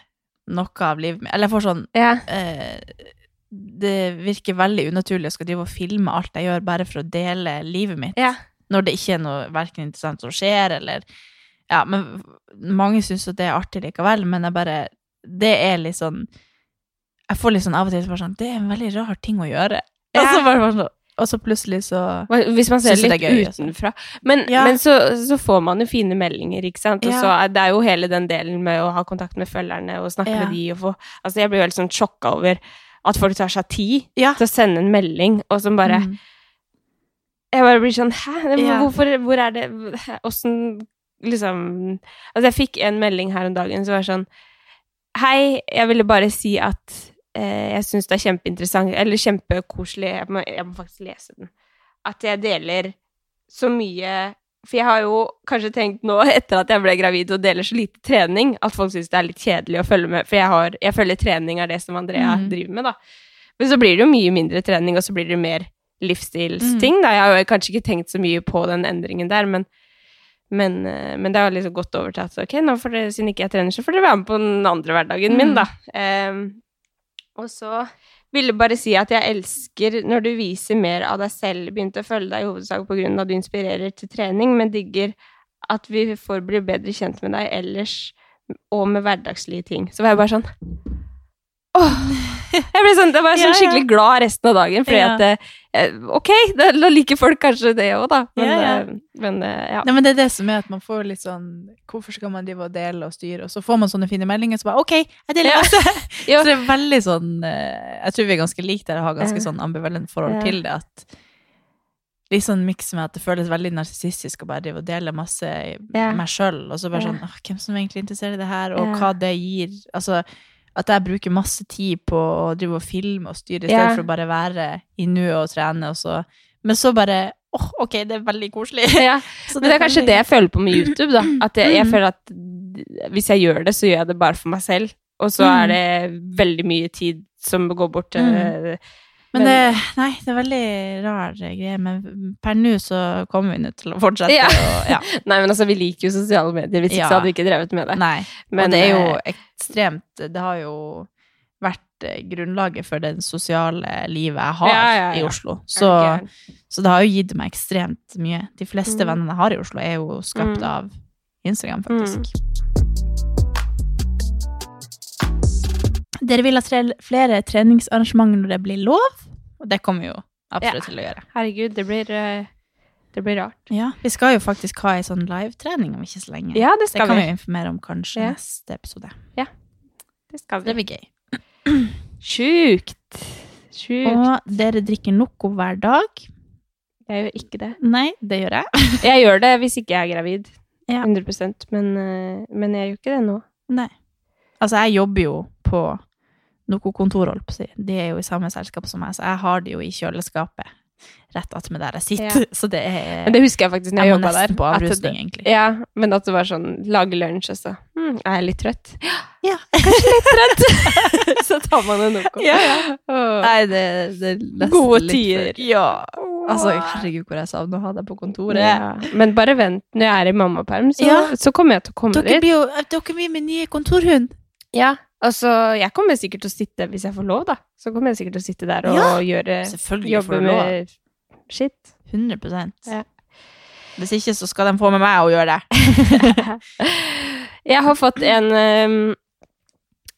[SPEAKER 2] noe av livet mitt. Eller jeg får sånn
[SPEAKER 1] ja.
[SPEAKER 2] eh, Det virker veldig unaturlig å skal drive og filme alt jeg gjør, bare for å dele livet mitt.
[SPEAKER 1] ja.
[SPEAKER 2] Når det ikke er noe verken interessant som skjer, eller Ja, men mange syns jo det er artig likevel, men jeg bare Det er litt sånn Jeg får litt sånn av og til bare sånn Det er en veldig rar ting å gjøre.
[SPEAKER 1] Ja.
[SPEAKER 2] Og så bare, bare sånn Og så plutselig så
[SPEAKER 1] Hva- Hvis man ser
[SPEAKER 2] Synes det
[SPEAKER 1] litt
[SPEAKER 2] er gøy, altså.
[SPEAKER 1] utenfra. Men,
[SPEAKER 2] Ja.
[SPEAKER 1] men så, så får man jo fine meldinger, ikke sant. Og
[SPEAKER 2] Ja.
[SPEAKER 1] så er det er jo hele den delen med å ha kontakt med følgerne og snakke
[SPEAKER 2] Ja.
[SPEAKER 1] med de og få Altså, jeg blir jo helt sånn sjokka over at folk tar seg tid
[SPEAKER 2] Ja.
[SPEAKER 1] til å sende en melding, og som bare
[SPEAKER 2] Mm.
[SPEAKER 1] Jeg bare blir sånn Hæ? Det-
[SPEAKER 2] Ja.
[SPEAKER 1] Hvorfor Hvor er det Åssen Liksom Altså, jeg fikk en melding her om dagen som var sånn Hei, jeg ville bare si at eh, jeg syns det er kjempeinteressant Eller kjempekoselig jeg må, jeg må faktisk lese den. At jeg deler så mye For jeg har jo kanskje tenkt nå, etter at jeg ble gravid og deler så lite trening, at folk syns det er litt kjedelig å følge med. For jeg, har, jeg føler trening er det som Andrea
[SPEAKER 2] Mhm.
[SPEAKER 1] driver med, da. Men så blir det jo mye mindre trening, og så blir det mer livsstilsting. Da. Jeg har jo kanskje ikke tenkt så mye på den endringen der, men, men, eh, men det har liksom gått over til at ok, nå får dere, siden ikke jeg trener, så får dere være med på den andre hverdagen min,
[SPEAKER 2] Mm.
[SPEAKER 1] da. Ehm, og så ville jeg bare si at jeg elsker når du viser mer av deg selv, begynte å følge deg i hovedsak på grunn av at du inspirerer til trening, men digger at vi får bli bedre kjent med deg ellers, og med hverdagslige ting. Så var jeg bare sånn Åh! Jeg ble sånn, jeg var sånn
[SPEAKER 2] Ja, ja.
[SPEAKER 1] skikkelig glad resten av dagen, fordi
[SPEAKER 2] Ja.
[SPEAKER 1] at eh, eh, Ok, da, da liker folk kanskje det òg, da. Men,
[SPEAKER 2] Ja, ja.
[SPEAKER 1] eh, men eh, ja.
[SPEAKER 2] Nei, men det er det som er at man får litt sånn Hvorfor skal man drive og dele og styre, og så får man sånne fine meldinger, så bare OK, jeg deler
[SPEAKER 1] Ja.
[SPEAKER 2] masse!
[SPEAKER 1] Ja.
[SPEAKER 2] Så det er veldig sånn eh, Jeg tror vi er ganske like der og har ganske
[SPEAKER 1] Ja.
[SPEAKER 2] sånn ambivalent forhold
[SPEAKER 1] Ja.
[SPEAKER 2] til det, at Litt sånn miks med at det føles veldig narsissistisk å bare drive og dele masse i
[SPEAKER 1] Ja.
[SPEAKER 2] meg sjøl, og så bare
[SPEAKER 1] Ja.
[SPEAKER 2] sånn «Åh, Hvem som egentlig interesserer i det her, og
[SPEAKER 1] Ja.
[SPEAKER 2] hva det gir Altså at jeg bruker masse tid på å drive og filme og styre, i stedet
[SPEAKER 1] Ja.
[SPEAKER 2] for å bare være i nuet og trene, og så Men så bare åh, ok, det er veldig koselig.
[SPEAKER 1] ja.
[SPEAKER 2] *laughs* Så
[SPEAKER 1] Men det er kanskje det jeg føler på med YouTube, da. At jeg, jeg
[SPEAKER 2] Mm.
[SPEAKER 1] føler at d- hvis jeg gjør det, så gjør jeg det bare for meg selv. Og så er
[SPEAKER 2] Mm.
[SPEAKER 1] det veldig mye tid som går bort eh, til
[SPEAKER 2] Mm. Men det, nei, det er veldig rar greie, men per nå så kommer vi nå til å fortsette.
[SPEAKER 1] Ja.
[SPEAKER 2] Og, ja.
[SPEAKER 1] Nei, men altså, vi liker jo sosiale medier. Hvis ikke
[SPEAKER 2] Ja.
[SPEAKER 1] så hadde vi ikke drevet med det.
[SPEAKER 2] Nei.
[SPEAKER 1] Men,
[SPEAKER 2] og det er jo
[SPEAKER 1] eh,
[SPEAKER 2] ekstremt Det har jo vært eh, grunnlaget for det sosiale livet jeg har
[SPEAKER 1] Ja, ja, ja.
[SPEAKER 2] i Oslo.
[SPEAKER 1] er
[SPEAKER 2] Så,
[SPEAKER 1] det gæren?
[SPEAKER 2] så det har jo gitt meg ekstremt mye. De fleste
[SPEAKER 1] Mm.
[SPEAKER 2] vennene jeg har i Oslo, er jo skapt
[SPEAKER 1] Mm.
[SPEAKER 2] av Instagram, faktisk. Dere vil ha tre, flere treningsarrangementer når det blir lov, og det kommer vi jo absolutt
[SPEAKER 1] Ja.
[SPEAKER 2] til å gjøre.
[SPEAKER 1] Herregud, det blir, eh, det blir rart.
[SPEAKER 2] Ja, vi skal jo faktisk ha ei sånn livetrening om ikke så lenge.
[SPEAKER 1] Ja, det
[SPEAKER 2] det
[SPEAKER 1] skal
[SPEAKER 2] kan vi
[SPEAKER 1] vi.
[SPEAKER 2] informere om kanskje
[SPEAKER 1] Ja.
[SPEAKER 2] neste episode.
[SPEAKER 1] Det skal
[SPEAKER 2] Det
[SPEAKER 1] vi.
[SPEAKER 2] blir gøy.
[SPEAKER 1] Sjukt! Sjukt.
[SPEAKER 2] Og dere drikker Noco hver dag?
[SPEAKER 1] Jeg gjør ikke det.
[SPEAKER 2] Nei, det gjør jeg.
[SPEAKER 1] Jeg gjør det hvis ikke jeg er gravid.
[SPEAKER 2] Ja.
[SPEAKER 1] 100 men, eh, men jeg gjør ikke det nå.
[SPEAKER 2] Nei. Altså, jeg jobber jo på Noco-kontor, holdt på å si. De er jo i samme selskap som meg, så jeg har det jo i kjøleskapet rett attmed der jeg sitter. *laughs* Så det er
[SPEAKER 1] Men det husker jeg faktisk når jeg,
[SPEAKER 2] Jeg må
[SPEAKER 1] jobba der.
[SPEAKER 2] nesten på
[SPEAKER 1] at det-
[SPEAKER 2] avrusning, egentlig.
[SPEAKER 1] Ja, men at det var sånn lage lunsj, og så hm, er jeg litt trøtt.
[SPEAKER 2] Ja.
[SPEAKER 1] *laughs* så tar man en Noco.
[SPEAKER 2] Ja,
[SPEAKER 1] Åh.
[SPEAKER 2] Nei, det, det er nesten
[SPEAKER 1] Gode
[SPEAKER 2] litt
[SPEAKER 1] tider.
[SPEAKER 2] for- Ja. Altså, herregud, hvor jeg savner å ha deg på kontoret.
[SPEAKER 1] Ja. Men bare vent, når jeg er i mammaperm, så,
[SPEAKER 2] Ja.
[SPEAKER 1] så kommer jeg til å komme
[SPEAKER 2] Dere
[SPEAKER 1] dit.
[SPEAKER 2] blir jo dere blir min nye kontorhund.
[SPEAKER 1] Ja, altså, jeg kommer sikkert til å sitte, hvis jeg får lov, da, så kommer jeg sikkert til å sitte der og gjøre
[SPEAKER 2] Selvfølgelig
[SPEAKER 1] Jobbe med shit.
[SPEAKER 2] 100
[SPEAKER 1] Ja.
[SPEAKER 2] Hvis ikke, så skal de få med meg å gjøre det.
[SPEAKER 1] Jeg har fått en ehm,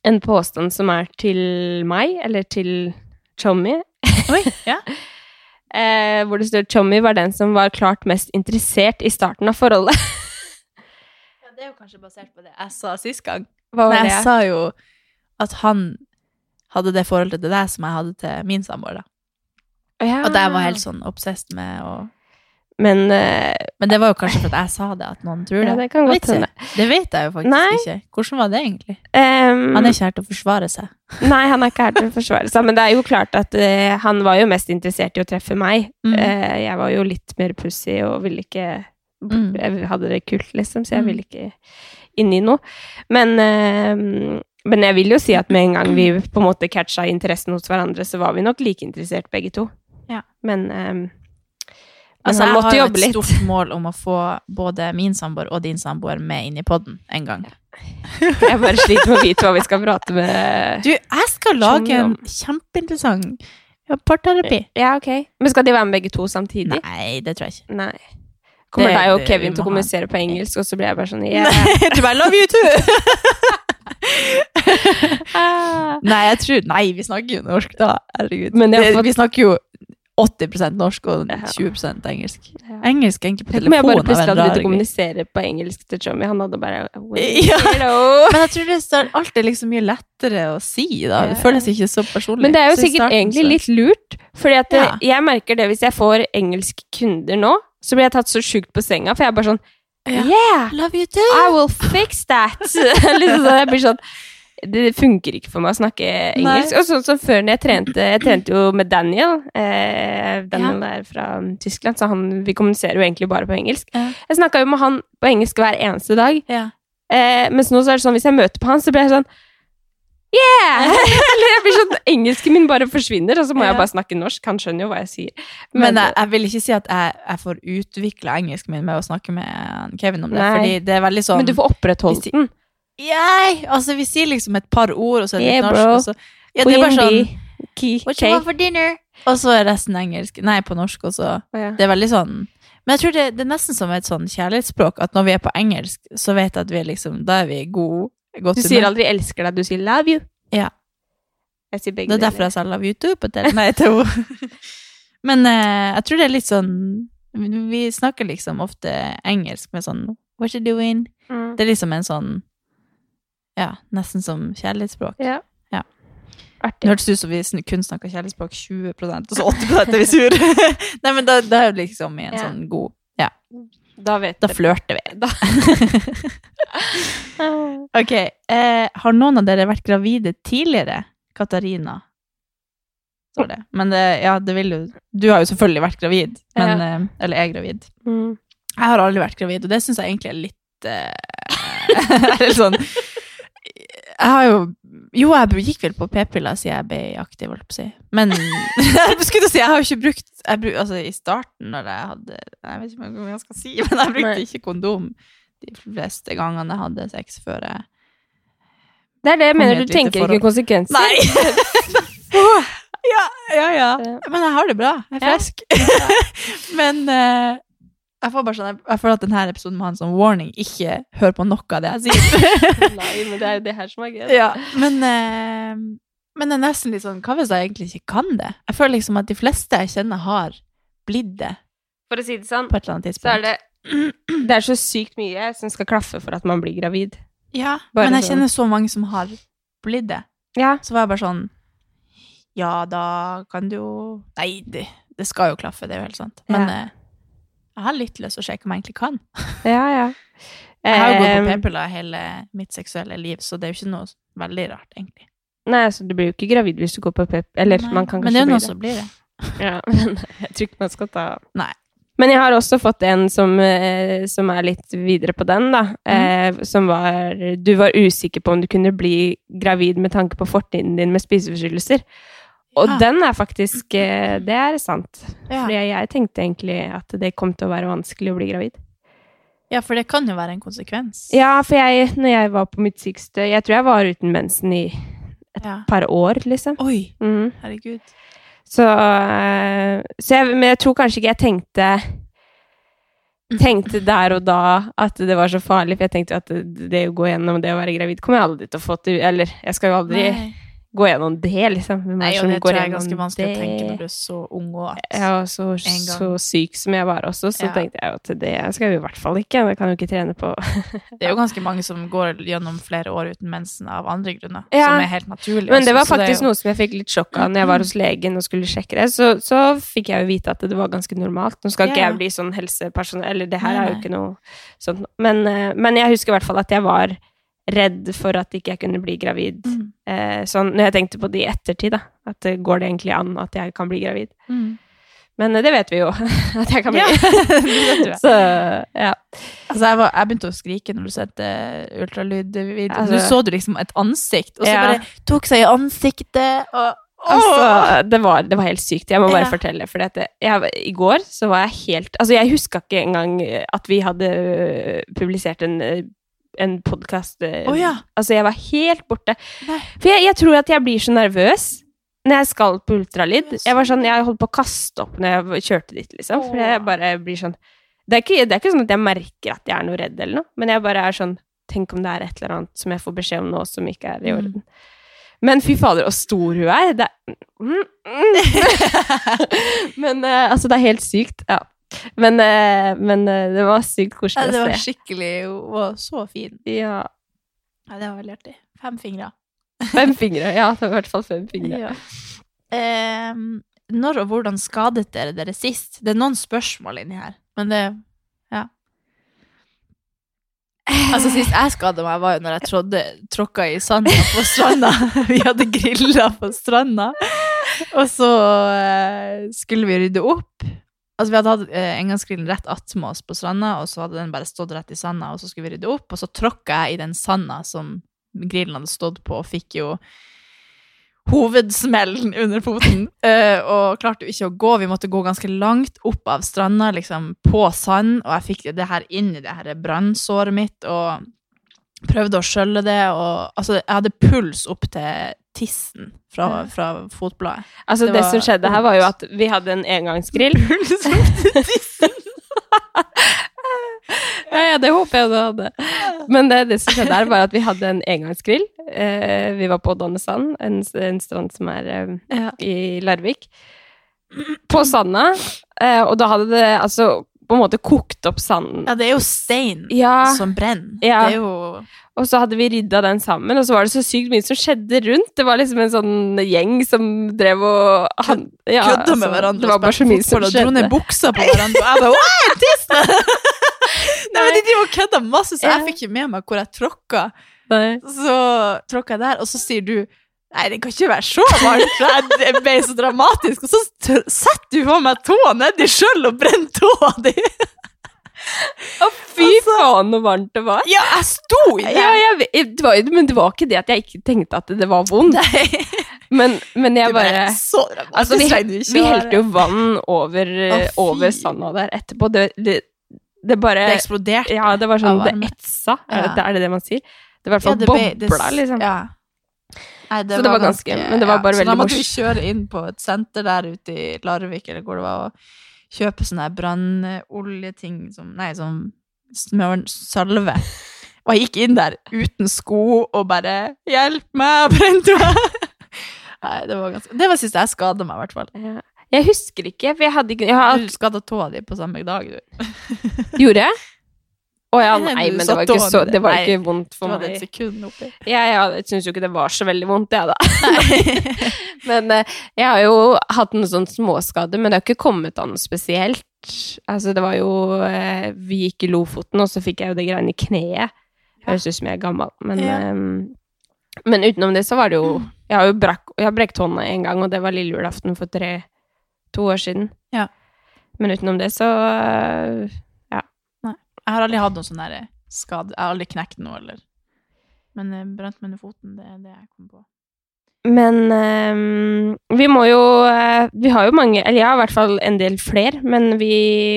[SPEAKER 1] en påstand som er til meg, eller til Tommy,
[SPEAKER 2] Oi, ja.
[SPEAKER 1] eh, hvor det står Tommy var den som var klart mest interessert i starten av forholdet. *laughs*
[SPEAKER 2] Det er jo kanskje basert på det jeg sa sist gang.
[SPEAKER 1] Hva
[SPEAKER 2] Men
[SPEAKER 1] var
[SPEAKER 2] jeg
[SPEAKER 1] det?
[SPEAKER 2] sa jo at han hadde det forholdet til deg som jeg hadde til min samboer. da.
[SPEAKER 1] Ja.
[SPEAKER 2] Og jeg var helt sånn obsessed med å
[SPEAKER 1] Men eh,
[SPEAKER 2] Men det var jo kanskje fordi jeg sa det, at noen tror det.
[SPEAKER 1] Ja, det kan godt
[SPEAKER 2] Vet ikke.
[SPEAKER 1] hende.
[SPEAKER 2] Det vet jeg jo faktisk
[SPEAKER 1] Nei.
[SPEAKER 2] ikke. Hvordan var det egentlig?
[SPEAKER 1] ehm,
[SPEAKER 2] Han er ikke her til å forsvare seg.
[SPEAKER 1] Nei, han er ikke her til å forsvare seg, men det er jo klart at eh, han var jo mest interessert i å treffe meg.
[SPEAKER 2] Mm.
[SPEAKER 1] Eh, jeg var jo litt mer pussig og ville ikke
[SPEAKER 2] Mm.
[SPEAKER 1] Jeg hadde det kult, liksom, så jeg ville ikke inn i noe. Men, eh, men jeg vil jo si at med en gang vi på en måte catcha interessen hos hverandre, så var vi nok like interessert begge to.
[SPEAKER 2] Ja.
[SPEAKER 1] Men, eh, men
[SPEAKER 2] Altså,
[SPEAKER 1] han
[SPEAKER 2] jeg
[SPEAKER 1] måtte
[SPEAKER 2] har jo
[SPEAKER 1] jobbe
[SPEAKER 2] et
[SPEAKER 1] litt.
[SPEAKER 2] stort mål om å få både min samboer og din samboer med inn i podden en gang.
[SPEAKER 1] *laughs* Jeg bare sliter med å vite hva vi skal prate med.
[SPEAKER 2] Du, jeg skal lage en kjempeinteressant parterapi.
[SPEAKER 1] Ja, ok. Men skal de være med begge to samtidig?
[SPEAKER 2] Nei, det tror jeg ikke.
[SPEAKER 1] Nei. Kommer
[SPEAKER 2] Det-
[SPEAKER 1] deg og
[SPEAKER 2] det-
[SPEAKER 1] Kevin
[SPEAKER 2] vi
[SPEAKER 1] til å
[SPEAKER 2] må ha en-
[SPEAKER 1] kommunisere på engelsk, og så blir jeg bare sånn yeah.
[SPEAKER 2] *laughs* Nei, *laughs* du bare love you too!
[SPEAKER 1] Ah.
[SPEAKER 2] Nei, jeg tror Nei, vi snakker jo norsk, da. Herregud.
[SPEAKER 1] Men jeg har
[SPEAKER 2] Det-
[SPEAKER 1] fått-
[SPEAKER 2] Vi snakker jo 80 norsk og
[SPEAKER 1] Ja.
[SPEAKER 2] 20 engelsk.
[SPEAKER 1] Ja.
[SPEAKER 2] Engelsk egentlig på
[SPEAKER 1] Tenk om jeg
[SPEAKER 2] telefonen.
[SPEAKER 1] bare
[SPEAKER 2] av en
[SPEAKER 1] plutselig hadde begynt å
[SPEAKER 2] rar grunn.
[SPEAKER 1] kommunisere på engelsk til Tommy. Han hadde bare
[SPEAKER 2] Ja. *laughs*
[SPEAKER 1] Hello.
[SPEAKER 2] Men jeg tror det er alt er liksom mye lettere å si, da. Det
[SPEAKER 1] Ja.
[SPEAKER 2] føles ikke så personlig.
[SPEAKER 1] Men det er jo
[SPEAKER 2] Så i
[SPEAKER 1] sikkert
[SPEAKER 2] starten
[SPEAKER 1] egentlig
[SPEAKER 2] så-
[SPEAKER 1] litt lurt, fordi at det,
[SPEAKER 2] Ja.
[SPEAKER 1] jeg merker det hvis jeg får engelske kunder nå, så blir jeg tatt så sjukt på senga, for jeg er bare sånn
[SPEAKER 2] Ja.
[SPEAKER 1] Yeah!
[SPEAKER 2] Love you too!
[SPEAKER 1] I will fix
[SPEAKER 2] *laughs*
[SPEAKER 1] that! liksom sånn, jeg blir sånn det funker ikke for meg å snakke engelsk. Og sånn som før når jeg trente Jeg trente jo med Daniel. Eh, Daniel er fra Tyskland, så han, vi kommuniserer jo egentlig bare på engelsk.
[SPEAKER 2] Ja.
[SPEAKER 1] Jeg snakka jo med han på engelsk hver eneste dag.
[SPEAKER 2] Ja.
[SPEAKER 1] Eh, mens nå så er det sånn, hvis jeg møter på han, så blir jeg sånn
[SPEAKER 2] *laughs*
[SPEAKER 1] Yeah! Eller jeg blir sånn, Engelsken min bare forsvinner, og så må
[SPEAKER 2] Ja.
[SPEAKER 1] jeg bare snakke norsk. Han skjønner jo hva jeg sier.
[SPEAKER 2] Men jeg, jeg vil ikke si at jeg, jeg får utvikla engelsken min med å snakke med Kevin om det.
[SPEAKER 1] Nei.
[SPEAKER 2] Fordi det er veldig sånn
[SPEAKER 1] eh, men du får opprettholdt den.
[SPEAKER 2] Yay! Altså, vi sier liksom et par ord, og så er det litt
[SPEAKER 1] Yeah,
[SPEAKER 2] norsk.
[SPEAKER 1] bro.
[SPEAKER 2] Og så, ja, det er bare sånn
[SPEAKER 1] Windy, key,
[SPEAKER 2] What you want for dinner? Og så er resten engelsk. Nei, på norsk også.
[SPEAKER 1] cake. Ja.
[SPEAKER 2] Det er veldig sånn Men jeg tror det, det er nesten som et sånn kjærlighetsspråk, at når vi er på engelsk, så vet jeg at vi er liksom Da er vi i god, godt
[SPEAKER 1] Du sier aldri 'elsker deg', du sier 'love you'.
[SPEAKER 2] Ja.
[SPEAKER 1] Jeg sier begge
[SPEAKER 2] Det er derfor jeg sa love you too på tele. Nei, til henne. *laughs* Men eh, jeg tror det er litt sånn Vi snakker liksom ofte engelsk med sånn What you doing?
[SPEAKER 1] Mm.
[SPEAKER 2] Det er liksom en sånn Ja, nesten som kjærlighetsspråk.
[SPEAKER 1] Ja.
[SPEAKER 2] Ja. Det
[SPEAKER 1] Artig.
[SPEAKER 2] hørtes ut som vi sn- kun snakka kjærlighetsspråk 20 og så *laughs* 80 er vi sur. Nei, men da, da er vi liksom i en
[SPEAKER 1] Ja.
[SPEAKER 2] sånn god
[SPEAKER 1] Da vet
[SPEAKER 2] Da
[SPEAKER 1] dere.
[SPEAKER 2] flørter vi.
[SPEAKER 1] Da. Ah,
[SPEAKER 2] ok. Eh, har noen av dere vært gravide tidligere? Katarina, står det. Men det, ja, det vil jo Du har jo selvfølgelig vært gravid. Men, eh, eller er gravid.
[SPEAKER 1] Mm.
[SPEAKER 2] Jeg har aldri vært gravid, og det syns jeg egentlig er litt eh, *laughs* Eller sånn Jeg har jo Jo, jeg gikk vel på p-piller siden jeg ble aktiv, holdt på å si. Men *laughs* jeg skulle til å si, jeg har jo ikke brukt jeg bruk, Altså, i starten, når jeg hadde Jeg vet ikke hva jeg skal si, men jeg brukte
[SPEAKER 1] Nei.
[SPEAKER 2] ikke kondom de fleste gangene jeg hadde sex før jeg
[SPEAKER 1] Det er det jeg
[SPEAKER 2] Kom i
[SPEAKER 1] mener,
[SPEAKER 2] et
[SPEAKER 1] du
[SPEAKER 2] lite
[SPEAKER 1] tenker
[SPEAKER 2] forhold.
[SPEAKER 1] ikke konsekvenser. *laughs*
[SPEAKER 2] *laughs* ja, ja, ja.
[SPEAKER 1] Ja.
[SPEAKER 2] Men jeg har det bra. Jeg er
[SPEAKER 1] Ja.
[SPEAKER 2] frisk. *laughs* Men eh, jeg får bare sånn, jeg, jeg føler at denne episoden må ha en sånn warning. Ikke hør på noe av det jeg
[SPEAKER 1] *laughs*
[SPEAKER 2] sier.
[SPEAKER 1] Nei, men det er jo det her som er gøy. da.
[SPEAKER 2] ja, men, eh, men det er nesten litt sånn Hva hvis jeg egentlig ikke kan det? Jeg føler liksom at de fleste jeg kjenner, har blitt det
[SPEAKER 1] For å si det sånn,
[SPEAKER 2] på et eller annet tidspunkt.
[SPEAKER 1] så er
[SPEAKER 2] *clears throat*
[SPEAKER 1] det Det er så sykt mye som skal klaffe for at man blir gravid.
[SPEAKER 2] ja,
[SPEAKER 1] bare
[SPEAKER 2] men jeg
[SPEAKER 1] sånn.
[SPEAKER 2] kjenner så mange som har blitt det.
[SPEAKER 1] Ja.
[SPEAKER 2] Så var jeg bare sånn Ja, da kan du jo Nei, det, det skal jo klaffe, det er jo helt sant. Men
[SPEAKER 1] Ja.
[SPEAKER 2] eh, jeg har litt lyst til å sjekke om jeg egentlig kan.
[SPEAKER 1] Ja, ja.
[SPEAKER 2] Jeg har jo gått på
[SPEAKER 1] Eh,
[SPEAKER 2] p-piller hele mitt seksuelle liv, så det er jo ikke noe veldig rart, egentlig.
[SPEAKER 1] Nei, altså, du blir jo ikke gravid hvis du går på pep... Eller
[SPEAKER 2] Nei,
[SPEAKER 1] man kan
[SPEAKER 2] men det
[SPEAKER 1] kanskje
[SPEAKER 2] er jo
[SPEAKER 1] bli
[SPEAKER 2] noen
[SPEAKER 1] det.
[SPEAKER 2] som blir det.
[SPEAKER 1] Ja, *laughs* men jeg tror ikke man skal ta
[SPEAKER 2] Nei.
[SPEAKER 1] Men jeg har også fått en som, eh, som er litt videre på den, da.
[SPEAKER 2] Mhm.
[SPEAKER 1] Eh, som var Du var usikker på om du kunne bli gravid med tanke på fortiden din med spiseforstyrrelser. Og
[SPEAKER 2] Ja.
[SPEAKER 1] den er faktisk eh, Det er sant.
[SPEAKER 2] Ah. Ja.
[SPEAKER 1] Fordi jeg tenkte egentlig at det kom til å være vanskelig å bli gravid.
[SPEAKER 2] Ja, for det kan jo være en konsekvens.
[SPEAKER 1] Ja, for jeg, når jeg var på mitt sykeste Jeg tror jeg var uten mensen i et
[SPEAKER 2] Ja.
[SPEAKER 1] par år, liksom.
[SPEAKER 2] Oi,
[SPEAKER 1] Mhm.
[SPEAKER 2] herregud.
[SPEAKER 1] Så, eh, så jeg, Men jeg tror kanskje ikke jeg tenkte
[SPEAKER 2] Mm.
[SPEAKER 1] Tenkte der og da at det var så farlig, for jeg tenkte at det, det å gå gjennom det å være gravid kommer jeg aldri til å få til Eller jeg skal jo aldri
[SPEAKER 2] Nei,
[SPEAKER 1] gå gjennom det, liksom. Hvem er
[SPEAKER 2] Nei
[SPEAKER 1] som
[SPEAKER 2] og det
[SPEAKER 1] går
[SPEAKER 2] tror jeg er
[SPEAKER 1] gjennom
[SPEAKER 2] ganske vanskelig
[SPEAKER 1] det?
[SPEAKER 2] å tenke når du er så ung og at
[SPEAKER 1] Jeg var så,
[SPEAKER 2] gang.
[SPEAKER 1] så syk som jeg var også, så
[SPEAKER 2] Ja.
[SPEAKER 1] tenkte jeg jo at det skal jeg jo i hvert fall ikke. Jeg kan jo ikke trene på
[SPEAKER 2] Det er jo ganske mange som går gjennom flere år uten mensen av andre grunner,
[SPEAKER 1] Ja.
[SPEAKER 2] som er helt naturlig.
[SPEAKER 1] Men det var
[SPEAKER 2] også, så er
[SPEAKER 1] faktisk
[SPEAKER 2] jo-
[SPEAKER 1] noe som jeg fikk litt sjokk av når jeg var hos legen og skulle sjekke det. Så, så fikk jeg jo vite at det var ganske normalt. Nå skal
[SPEAKER 2] Ja,
[SPEAKER 1] ikke
[SPEAKER 2] ja.
[SPEAKER 1] jeg bli sånn helsepersonell, eller det her
[SPEAKER 2] Nei,
[SPEAKER 1] er jo
[SPEAKER 2] nei.
[SPEAKER 1] ikke noe sånt. Men, eh, men jeg husker i hvert fall at jeg var redd for at ikke jeg kunne bli gravid.
[SPEAKER 2] Mm.
[SPEAKER 1] *laughs* Eh, sånn når jeg tenkte på det i ettertid, da. At eh, går det egentlig an at jeg kan bli gravid?
[SPEAKER 2] Mm.
[SPEAKER 1] Men eh, det vet vi jo *laughs* at jeg kan bli. *laughs*
[SPEAKER 2] Ja. *laughs*
[SPEAKER 1] Så, ja.
[SPEAKER 2] Altså, jeg, var, jeg begynte å skrike når du sendte eh, ultralydvideo.
[SPEAKER 1] Altså-
[SPEAKER 2] nå så du liksom et ansikt, og så
[SPEAKER 1] Ja.
[SPEAKER 2] bare tok seg i ansiktet. Og, Åh!
[SPEAKER 1] Altså, det var, det var helt sykt. Jeg må bare
[SPEAKER 2] Ja.
[SPEAKER 1] fortelle. For jeg, I går så var jeg helt Altså, jeg huska ikke engang eh, at vi hadde eh, publisert en, eh, en podkast.
[SPEAKER 2] Å ja.
[SPEAKER 1] Altså, jeg var helt borte.
[SPEAKER 2] Nei.
[SPEAKER 1] For jeg, jeg tror at jeg blir så nervøs når jeg skal på ultralyd.
[SPEAKER 2] Yes.
[SPEAKER 1] Jeg var sånn, jeg holdt på å kaste opp når jeg v- kjørte dit, liksom. For jeg bare blir sånn det er, ikke, det er ikke sånn at jeg merker at jeg er noe redd eller noe, men jeg bare er sånn Tenk om det er et eller annet som jeg får beskjed om nå, som ikke er i
[SPEAKER 2] Mm.
[SPEAKER 1] orden. Men fy fader, så stor hun er! Det er mm,
[SPEAKER 2] *laughs*
[SPEAKER 1] mm. men eh, altså, det er helt sykt. Ja. Men, eh, men eh, det var sykt
[SPEAKER 2] Ja,
[SPEAKER 1] koselig
[SPEAKER 2] det var
[SPEAKER 1] å se.
[SPEAKER 2] skikkelig Hun var så fin.
[SPEAKER 1] Ja.
[SPEAKER 2] Ja, det var veldig artig. Fem fingre.
[SPEAKER 1] Fem fingre. Ja, det var i hvert fall fem fingre.
[SPEAKER 2] Ja. Ehm, når og hvordan skadet dere dere sist? Det er noen spørsmål inni her, men det Ja. Altså, sist jeg skadet meg, var jo når jeg trådde, tråkka i sanda på stranda. *laughs* Vi hadde grilla på stranda, og så eh, skulle vi rydde opp. Altså, vi hadde hatt eh, engangsgrillen rett attmed oss på stranda, og så hadde den bare stått rett i sanda, og så skulle vi rydde opp, og så tråkka jeg i den sanda som grillen hadde stått på, og fikk jo hovedsmellen under *laughs* foten. eh, og klarte jo ikke å gå. Vi måtte gå ganske langt opp av stranda, liksom på sand. Og jeg fikk det her inn i det her brannsåret mitt og prøvde å skjølle det. Og altså, jeg hadde puls opp til tissen fra, fra fotbladet.
[SPEAKER 1] Altså,
[SPEAKER 2] Det
[SPEAKER 1] det,
[SPEAKER 2] var
[SPEAKER 1] som skjedde her, var jo
[SPEAKER 2] vondt.
[SPEAKER 1] at vi hadde en engangsgrill.
[SPEAKER 2] *laughs*
[SPEAKER 1] *laughs* ja, ja, det håper jeg du hadde. Men det, det som skjedde her, var at vi hadde en engangsgrill. Eh, vi var på Donnesand, en, en strand som er eh, i Larvik. På sanda. Eh, og da hadde det altså på en måte kokt opp sanden.
[SPEAKER 2] Ja, det er jo stein
[SPEAKER 1] Ja,
[SPEAKER 2] som brenner.
[SPEAKER 1] Ja.
[SPEAKER 2] Det er jo
[SPEAKER 1] og så hadde vi rydda den sammen, og så var det så sykt mye som skjedde rundt. Det var liksom en sånn gjeng som drev og han, ja,
[SPEAKER 2] kødda med
[SPEAKER 1] altså,
[SPEAKER 2] hverandre.
[SPEAKER 1] Det var bare så mye som
[SPEAKER 2] Og dro
[SPEAKER 1] skjedde.
[SPEAKER 2] ned buksa på hverandre. Og jeg bare «Wow, tissen!» *laughs* Nei, men de driver og kødder masse, så jeg
[SPEAKER 1] Ja.
[SPEAKER 2] fikk ikke med meg hvor jeg tråkka.
[SPEAKER 1] Nei.
[SPEAKER 2] Så tråkka jeg der, og så sier du Nei, det kan ikke være så varmt, for jeg- det ble så dramatisk. Og så tr- setter du faen meg tåa nedi sjøl og brenner tåa di!
[SPEAKER 1] Å, fy faen, så varmt det var.
[SPEAKER 2] Ja, jeg sto Altså- i det!
[SPEAKER 1] Ja, jeg, vet- det var, jo- men det var ikke det at jeg ikke tenkte at det var vondt. Men, men jeg
[SPEAKER 2] Det ble
[SPEAKER 1] bare
[SPEAKER 2] så
[SPEAKER 1] altså,
[SPEAKER 2] dramatisk.
[SPEAKER 1] vi, vi
[SPEAKER 2] regner ikke å være-
[SPEAKER 1] helte jo vann over, eh,
[SPEAKER 2] fy.
[SPEAKER 1] over sanda der etterpå. Det, det, det
[SPEAKER 2] Det
[SPEAKER 1] bare
[SPEAKER 2] eksploderte.
[SPEAKER 1] Ja, det var
[SPEAKER 2] av
[SPEAKER 1] sånn
[SPEAKER 2] varme.
[SPEAKER 1] Det etsa. Er det-
[SPEAKER 2] Ja.
[SPEAKER 1] Er det det man sier? Det var i hvert
[SPEAKER 2] Ja,
[SPEAKER 1] fall
[SPEAKER 2] det ble- det-
[SPEAKER 1] bobla, liksom.
[SPEAKER 2] Ja. Nei,
[SPEAKER 1] Så det var ganske- men det var bare
[SPEAKER 2] så da
[SPEAKER 1] veldig
[SPEAKER 2] måtte vi
[SPEAKER 1] mors-
[SPEAKER 2] kjøre inn på et senter der ute i Larvik, eller hvor det var, og kjøpe sånne her brannoljeting som Nei, sånn smør, salve. Og jeg gikk inn der uten sko og bare 'Hjelp meg, jeg brente meg'. *laughs* Nei, det var ganske Det var sist jeg skada meg, i hvert fall.
[SPEAKER 1] Ja. Jeg husker ikke, for jeg hadde ikke jeg har,
[SPEAKER 2] Du skada tåa di på samme dag, du.
[SPEAKER 1] Gjorde
[SPEAKER 2] *laughs*
[SPEAKER 1] jeg? Å ja,
[SPEAKER 2] Nei,
[SPEAKER 1] nei,
[SPEAKER 2] du
[SPEAKER 1] men det
[SPEAKER 2] satt
[SPEAKER 1] var ikke,
[SPEAKER 2] og-
[SPEAKER 1] så, det var
[SPEAKER 2] nei,
[SPEAKER 1] ikke vondt
[SPEAKER 2] Du
[SPEAKER 1] for
[SPEAKER 2] hadde
[SPEAKER 1] meg.
[SPEAKER 2] et sekund oppi.
[SPEAKER 1] Ja, ja, jeg syns jo ikke det var så veldig vondt, jeg, da.
[SPEAKER 2] Nei.
[SPEAKER 1] *laughs* Men eh, jeg har jo hatt noen sånne småskader, men det har ikke kommet an noe spesielt. Altså, det var jo eh, Vi gikk i Lofoten, og så fikk jeg jo det greiene i kneet. Høres ut som jeg er gammel, men
[SPEAKER 2] Ja. Mm.
[SPEAKER 1] eh, Men utenom det så var det jo Jeg har jo brakk, jeg har brekt hånda en gang, og det var lille julaften for tre, to år siden.
[SPEAKER 2] Ja.
[SPEAKER 1] Men utenom det så eh,
[SPEAKER 2] Jeg har aldri hatt noen sånn der skade. Jeg har aldri knekt noe, eller. Men eh, brant meg under foten, det er det jeg kom på.
[SPEAKER 1] Men eh, vi må jo eh, Vi har jo mange, eller jeg har i hvert fall en del fler, men vi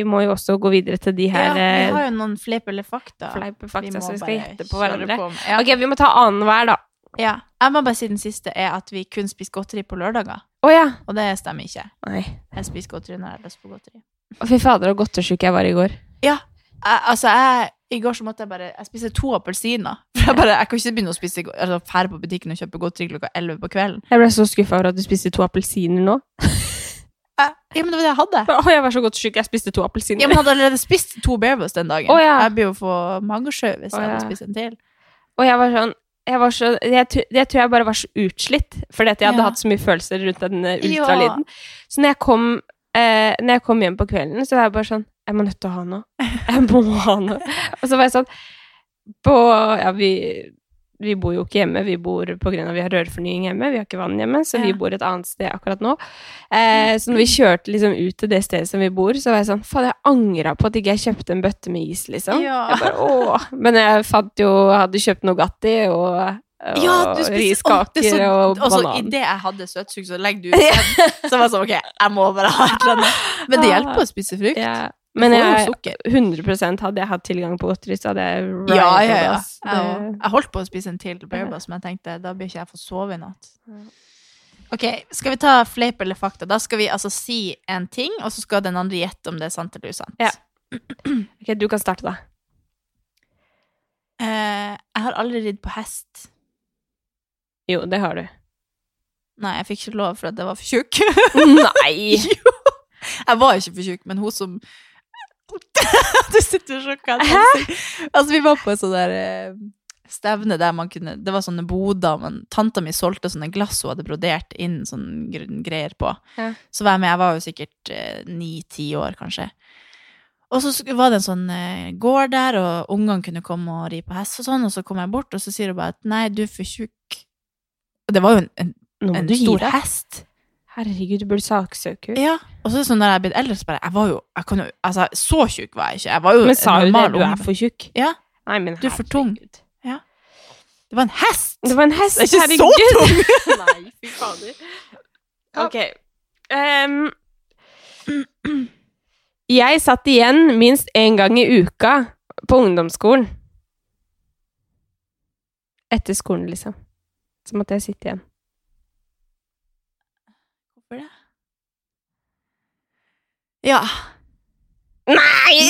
[SPEAKER 1] må jo også gå videre til de her eh,
[SPEAKER 2] vi har jo noen fleip eller fakta.
[SPEAKER 1] fleip fakta, så vi skal gjette på
[SPEAKER 2] kjøre
[SPEAKER 1] hverandre.
[SPEAKER 2] på med- Ja.
[SPEAKER 1] Ok, vi må ta annenhver, da.
[SPEAKER 2] ja. Jeg må bare si den siste er at vi kun spiser godteri på lørdager.
[SPEAKER 1] Å ja.
[SPEAKER 2] Og det stemmer ikke.
[SPEAKER 1] Nei.
[SPEAKER 2] Jeg spiser godteri når jeg har lyst på godteri.
[SPEAKER 1] Å, Fy fader, så godtesjuk jeg var i går.
[SPEAKER 2] Jeg, altså, jeg, I går så måtte jeg bare Jeg spiste to appelsiner. *laughs* For jeg, bare, jeg kan ikke begynne å spise go- altså, fære på butikken og kjøpe godteri klokka 11 på kvelden.
[SPEAKER 1] Jeg ble så skuffa over at du spiste to appelsiner nå.
[SPEAKER 2] Jeg, ja, men det var det jeg hadde.
[SPEAKER 1] Å, jeg var så godtesjuk, jeg spiste to
[SPEAKER 2] Ja,
[SPEAKER 1] appelsiner.
[SPEAKER 2] men jeg hadde allerede spist to Bearbus den dagen.
[SPEAKER 1] Å, ja.
[SPEAKER 2] Jeg blir jo for magesjø hvis
[SPEAKER 1] Å,
[SPEAKER 2] jeg hadde
[SPEAKER 1] ja.
[SPEAKER 2] spist en til.
[SPEAKER 1] Og jeg var sånn jeg, var så, jeg, tr- jeg tror jeg bare var så utslitt, fordi at jeg hadde
[SPEAKER 2] Ja.
[SPEAKER 1] hatt så mye følelser rundt den eh,
[SPEAKER 2] Ja.
[SPEAKER 1] ultralyden. Så når jeg, kom, eh, når jeg kom hjem på kvelden, så var jeg bare sånn Jeg må nødt til å
[SPEAKER 2] *laughs*
[SPEAKER 1] ha noe. Jeg må ha noe. Og så var jeg sånn På Ja, vi Vi bor jo ikke hjemme, vi bor på grunn av vi har rørfornying hjemme, vi har ikke vann hjemme, så vi
[SPEAKER 2] Ja.
[SPEAKER 1] bor et annet sted akkurat nå. Eh, så når vi kjørte liksom ut til det stedet som vi bor, så var jeg sånn, faen, jeg angra på at ikke jeg kjøpte en bøtte med is, liksom.
[SPEAKER 2] Ja.
[SPEAKER 1] Jeg bare, åh. Men jeg fant jo, hadde kjøpt Nugatti og, og riskaker
[SPEAKER 2] sånn-
[SPEAKER 1] og
[SPEAKER 2] og så
[SPEAKER 1] banan.
[SPEAKER 2] Idet altså, jeg hadde søtsug, så legger du ut den. Så var jeg sånn, ok, jeg må bare ha et eller annet. Men det hjelper å spise frukt.
[SPEAKER 1] Ja.
[SPEAKER 2] Du
[SPEAKER 1] Men
[SPEAKER 2] får jo
[SPEAKER 1] jeg,
[SPEAKER 2] sukker.
[SPEAKER 1] 100 hadde jeg hatt tilgang på godteri, så hadde jeg
[SPEAKER 2] Ja, ja, ja.
[SPEAKER 1] riotet,
[SPEAKER 2] Jeg,
[SPEAKER 1] ass.
[SPEAKER 2] også.
[SPEAKER 1] Det-
[SPEAKER 2] jeg holdt på å spise en til babas, men jeg tenkte da blir ikke jeg få sove i natt. Ok, skal vi ta fleip eller fakta? Da skal vi altså si en ting, og så skal den andre gjette om det er sant eller usant.
[SPEAKER 1] Ja. Ok, du kan starte, da.
[SPEAKER 2] Eh, jeg har aldri ridd på hest.
[SPEAKER 1] Jo, det har du.
[SPEAKER 2] Nei, jeg fikk ikke lov for at jeg var for tjukk.
[SPEAKER 1] *laughs* *laughs*
[SPEAKER 2] *laughs*
[SPEAKER 1] Nei!
[SPEAKER 2] jo! Jeg var ikke for tjukk, men hun som *laughs* Du sitter og sjokkert. Altså, vi var på en sånn der eh, stevne der man kunne Det var sånne boder, men tanta mi solgte sånne glass hun hadde brodert inn sånne gr- greier på.
[SPEAKER 1] Ja.
[SPEAKER 2] Så var jeg med. Jeg var jo sikkert eh, ni-ti år, kanskje. Og så sk- var det en sånn eh, gård der, og ungene kunne komme og ri på hest og sånn, og så kom jeg bort, og så sier hun bare at nei, du er for tjukk. Og det var jo en, en,
[SPEAKER 1] Nå må
[SPEAKER 2] en
[SPEAKER 1] du gi
[SPEAKER 2] stor
[SPEAKER 1] deg.
[SPEAKER 2] hest.
[SPEAKER 1] Herregud, du burde saksøke henne.
[SPEAKER 2] Ja, og så er det sånn når jeg er blitt eldre, så bare Jeg var jo jeg kan jo, altså, Så tjukk var jeg ikke. Jeg var jo
[SPEAKER 1] Men sa
[SPEAKER 2] en
[SPEAKER 1] du det?
[SPEAKER 2] normal
[SPEAKER 1] Du er
[SPEAKER 2] ungdom.
[SPEAKER 1] for tjukk.
[SPEAKER 2] Ja.
[SPEAKER 1] Nei, men
[SPEAKER 2] Du er for tung.
[SPEAKER 1] herregud.
[SPEAKER 2] Det var en hest!
[SPEAKER 1] Det var en hest.
[SPEAKER 2] Det er ikke så
[SPEAKER 1] herregud. *laughs* Nei, fy fader. Ok. Ehm, jeg satt igjen minst én gang i uka på ungdomsskolen. Etter skolen, liksom. Så måtte jeg sitte igjen.
[SPEAKER 2] Hvorfor det? Ja.
[SPEAKER 1] Nei!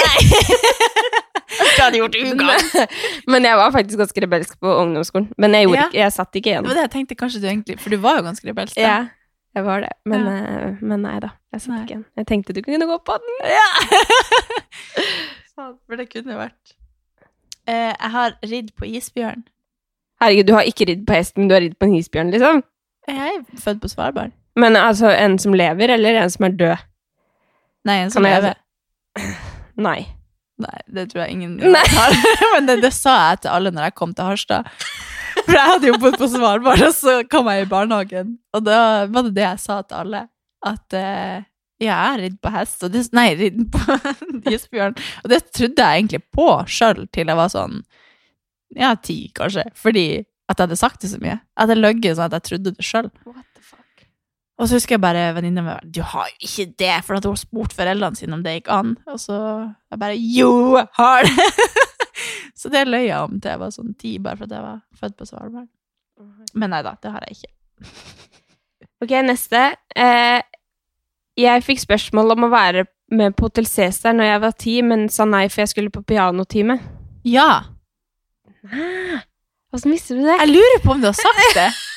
[SPEAKER 2] *laughs* Det hadde gjort
[SPEAKER 1] Men, *laughs* men jeg var faktisk ganske rebelsk på ungdomsskolen. Men jeg, gjorde
[SPEAKER 2] Ja.
[SPEAKER 1] ikke, jeg satt ikke
[SPEAKER 2] Det
[SPEAKER 1] igjen.
[SPEAKER 2] var det jeg tenkte kanskje du egentlig For du var jo ganske rebelsk. da.
[SPEAKER 1] Ja, jeg var det. Men,
[SPEAKER 2] Ja.
[SPEAKER 1] eh, men nei da, jeg satt
[SPEAKER 2] Nei.
[SPEAKER 1] ikke igjen. Jeg tenkte du kunne gå på den.
[SPEAKER 2] *laughs* Faen, For det kunne vært eh, Jeg har ridd på isbjørn.
[SPEAKER 1] Herregud, du har ikke ridd på hest, men du har ridd på en isbjørn, liksom.
[SPEAKER 2] Jeg er født på Svalbard.
[SPEAKER 1] Men altså, en som lever, eller en som er død?
[SPEAKER 2] Nei, en sånn som
[SPEAKER 1] Kan jeg-
[SPEAKER 2] lever.
[SPEAKER 1] Nei.
[SPEAKER 2] Nei, det tror jeg ingen
[SPEAKER 1] Nei.
[SPEAKER 2] har. *laughs* Men det, det sa jeg til alle når jeg kom til Harstad. For jeg hadde jo bodd på Svalbard, *laughs* og så kom jeg i barnehagen. Og da var det det jeg sa til alle. At eh, ja, jeg har ridd på hest, og det, nei, ridd på *laughs* isbjørn. Og det trodde jeg egentlig på sjøl til jeg var sånn ja, ti, kanskje. Fordi at jeg hadde sagt det så mye. At jeg løy sånn at jeg trodde det sjøl.
[SPEAKER 1] What the fuck?
[SPEAKER 2] Og så husker jeg bare venninna mi Du har jo ikke det! For at hun spurte foreldrene sine om det gikk an. Og så jeg bare Jo, jeg har det! *laughs* så det løy jeg om til jeg var sånn ti, bare for at jeg var født på Svalbard. Men nei da, det har jeg ikke.
[SPEAKER 1] Ok, neste. Eh, jeg fikk spørsmål om å være med på Hotel Cæsar når jeg var ti, men sa nei for jeg skulle på pianotime.
[SPEAKER 2] Ja!
[SPEAKER 1] Åssen visste du det?
[SPEAKER 2] Jeg lurer på om Ah, du har sagt det! *laughs*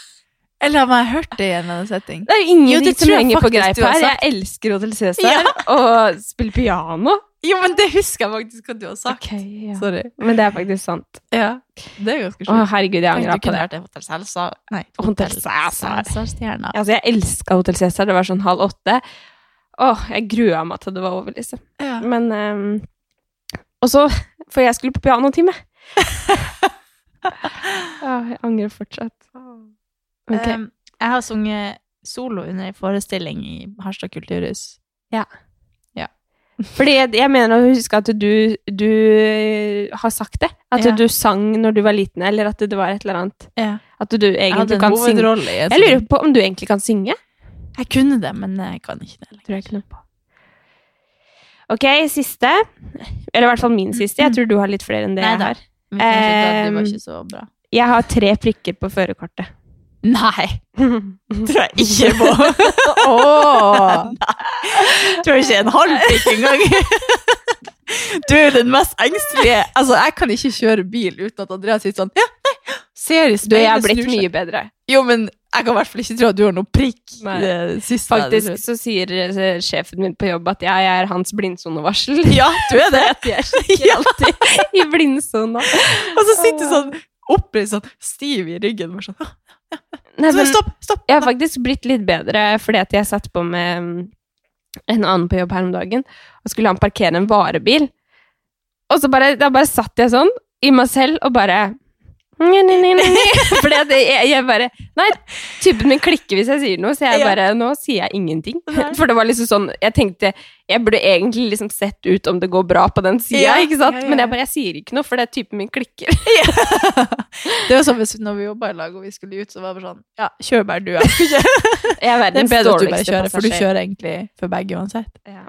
[SPEAKER 2] Eller om jeg har hørt det i en eller annen setting.
[SPEAKER 1] Det er jo ingen
[SPEAKER 2] Jo,
[SPEAKER 1] jo,
[SPEAKER 2] det
[SPEAKER 1] som
[SPEAKER 2] tror jeg
[SPEAKER 1] henger på
[SPEAKER 2] faktisk
[SPEAKER 1] greip
[SPEAKER 2] du har
[SPEAKER 1] her. Jeg
[SPEAKER 2] sagt.
[SPEAKER 1] elsker Hotel Cæsar
[SPEAKER 2] Ja.
[SPEAKER 1] og spille piano.
[SPEAKER 2] Jo, men det husker jeg faktisk at du har sagt.
[SPEAKER 1] Ok, ja.
[SPEAKER 2] Sorry.
[SPEAKER 1] Men det er faktisk sant.
[SPEAKER 2] Ja, det er
[SPEAKER 1] Å,
[SPEAKER 2] ganske sjukt.
[SPEAKER 1] herregud, jeg
[SPEAKER 2] Tenk,
[SPEAKER 1] angrer
[SPEAKER 2] Du
[SPEAKER 1] på
[SPEAKER 2] kunne
[SPEAKER 1] det.
[SPEAKER 2] vært en Hotell Cæsar. Nei,
[SPEAKER 1] Hotel Cæsar.
[SPEAKER 2] Cæsar-stjerna.
[SPEAKER 1] Altså, jeg elska Hotel Cæsar. Det var sånn halv åtte. Åh, jeg grua meg til det var over, liksom.
[SPEAKER 2] Ja.
[SPEAKER 1] Men ehm, Og så For jeg skulle på pianotime.
[SPEAKER 2] *laughs*
[SPEAKER 1] Åh, jeg angrer fortsatt. Ok.
[SPEAKER 2] Um, jeg har sunget solo under en forestilling i Harstad kulturhus.
[SPEAKER 1] Fordi jeg, jeg mener å huske at du, du eh, har sagt det. At
[SPEAKER 2] Ja.
[SPEAKER 1] du sang når du var liten, eller at det var et eller annet.
[SPEAKER 2] Ja.
[SPEAKER 1] At du
[SPEAKER 2] Jeg
[SPEAKER 1] egentlig
[SPEAKER 2] hadde en
[SPEAKER 1] kan synge.
[SPEAKER 2] hovedrolle i en
[SPEAKER 1] Jeg lurer
[SPEAKER 2] sånn-
[SPEAKER 1] på om du egentlig kan synge.
[SPEAKER 2] Jeg kunne det, men jeg kan ikke det lenger.
[SPEAKER 1] Tror jeg ikke noe på. Ok, siste. Eller i hvert fall min siste. Jeg tror du har litt flere enn det jeg
[SPEAKER 2] Neida.
[SPEAKER 1] har.
[SPEAKER 2] Men kanskje da, det var
[SPEAKER 1] Um,
[SPEAKER 2] ikke så bra.
[SPEAKER 1] Jeg har tre prikker på
[SPEAKER 2] *laughs*
[SPEAKER 1] førerkortet.
[SPEAKER 2] Nei! *laughs*
[SPEAKER 1] Tror jeg
[SPEAKER 2] Ikke på! Åh! Tror ikke en halv prikk engang. Du er den mest engstelige. Altså, jeg kan ikke kjøre bil uten at Andreas sitter sånn Ja, nei! Ser i
[SPEAKER 1] Du, jeg har
[SPEAKER 2] speilet,
[SPEAKER 1] blitt
[SPEAKER 2] snur seg.
[SPEAKER 1] mye bedre.
[SPEAKER 2] Jo, men jeg kan i hvert fall ikke tro at du har noe prikk.
[SPEAKER 1] Nei.
[SPEAKER 2] Det siste jeg hadde
[SPEAKER 1] Faktisk
[SPEAKER 2] trodd.
[SPEAKER 1] så sier eh, sjefen min på jobb at jeg er hans blindsonevarsel.
[SPEAKER 2] Ja, du
[SPEAKER 1] *laughs*
[SPEAKER 2] er det.
[SPEAKER 1] Jeg er ikke alltid i blindsona.
[SPEAKER 2] Og så sitter sånn oppreist, sånn stiv i ryggen. Bare sånn.
[SPEAKER 1] Nei,
[SPEAKER 2] Så
[SPEAKER 1] men
[SPEAKER 2] stopp, stopp!
[SPEAKER 1] jeg har faktisk blitt litt bedre fordi at jeg satt på med mm, en annen på jobb her om dagen, og skulle han parkere en varebil. Og så bare, da bare satt jeg sånn i meg selv og bare Nei, nei, nei, nei, nei. *laughs* Fordi at jeg, jeg bare Nei, typen min klikker hvis jeg sier noe, så jeg
[SPEAKER 2] Ja.
[SPEAKER 1] bare Nå sier jeg ingenting. *laughs* For det var liksom sånn Jeg tenkte Jeg burde egentlig liksom sett ut om det går bra på den sida,
[SPEAKER 2] Ja,
[SPEAKER 1] ikke sant?
[SPEAKER 2] ja, ja.
[SPEAKER 1] Men jeg bare Jeg sier ikke noe, for det er typen min klikker.
[SPEAKER 2] Det var sånn hvis når vi jobba i lag og vi skulle ut, så var det bare sånn Ja, *laughs* kjør bare du. Jeg skal ikke
[SPEAKER 1] Jeg er
[SPEAKER 2] Det er
[SPEAKER 1] verdens
[SPEAKER 2] bedre at du bare
[SPEAKER 1] dårligste
[SPEAKER 2] kjører, for du
[SPEAKER 1] passasjer.
[SPEAKER 2] kjører egentlig for begge uansett.
[SPEAKER 1] Ja.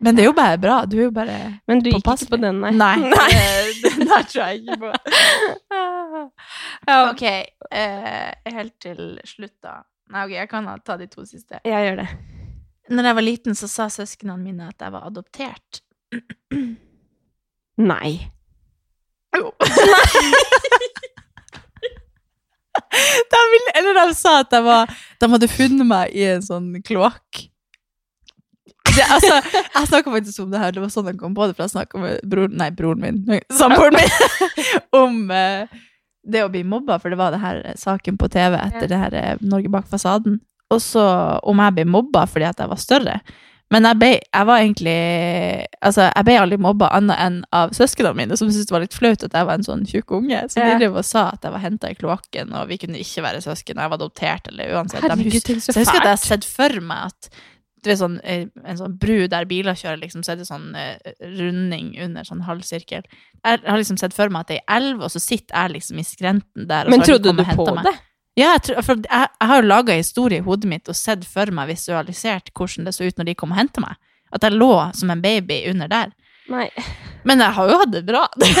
[SPEAKER 2] Men det er jo bare bra. Du er jo bare
[SPEAKER 1] Men du gikk ikke på
[SPEAKER 2] Påpasselig.
[SPEAKER 1] den, nei.
[SPEAKER 2] *laughs*
[SPEAKER 1] *laughs*
[SPEAKER 2] det, det der tror jeg ikke på.
[SPEAKER 1] Ja,
[SPEAKER 2] Ok, eh, helt til slutt, da. Nei, ok, jeg kan ta de to siste.
[SPEAKER 1] *laughs* Jeg gjør det.
[SPEAKER 2] Når jeg var liten, så sa søsknene mine at jeg var adoptert.
[SPEAKER 1] Nei.
[SPEAKER 2] Jo. *laughs* de ville, eller de sa at jeg var, de hadde funnet meg i en sånn kloakk. Det, altså, jeg snakka faktisk om det her, det var sånn jeg kom på det, for jeg snakka med broren, nei, broren min, samboeren min, *laughs* om eh, det å bli mobba, for det var det her eh, saken på TV etter det her eh, Norge bak fasaden. Og så om jeg ble mobba fordi at jeg var større. Men jeg ble, jeg var egentlig Altså, jeg ble aldri mobba annet enn av søsknene mine, som syntes det var litt flaut at jeg var en sånn tjukk unge. Så de
[SPEAKER 1] Ja.
[SPEAKER 2] drev og sa at jeg var henta i kloakken, og vi kunne ikke være søsken. Jeg var adoptert, eller uansett. de hus-
[SPEAKER 1] tenk
[SPEAKER 2] så jeg husker at jeg har sett for meg at du vet, sånn, eh, en sånn bru der biler kjører, liksom, så er det sånn eh, runding under sånn halvsirkel. Jeg har liksom sett for meg at det er ei elv, og så sitter jeg liksom i skrenten der. Og
[SPEAKER 1] Men
[SPEAKER 2] så har de
[SPEAKER 1] trodde du
[SPEAKER 2] kommet og hentet
[SPEAKER 1] på
[SPEAKER 2] meg.
[SPEAKER 1] det?
[SPEAKER 2] Ja, jeg, tror, for jeg, jeg har jo laga en historie i hodet mitt og sett for meg visualisert hvordan det så ut når de kom og henta meg. At jeg lå som en baby under der.
[SPEAKER 1] Nei.
[SPEAKER 2] Men jeg har jo hatt det bra. *laughs*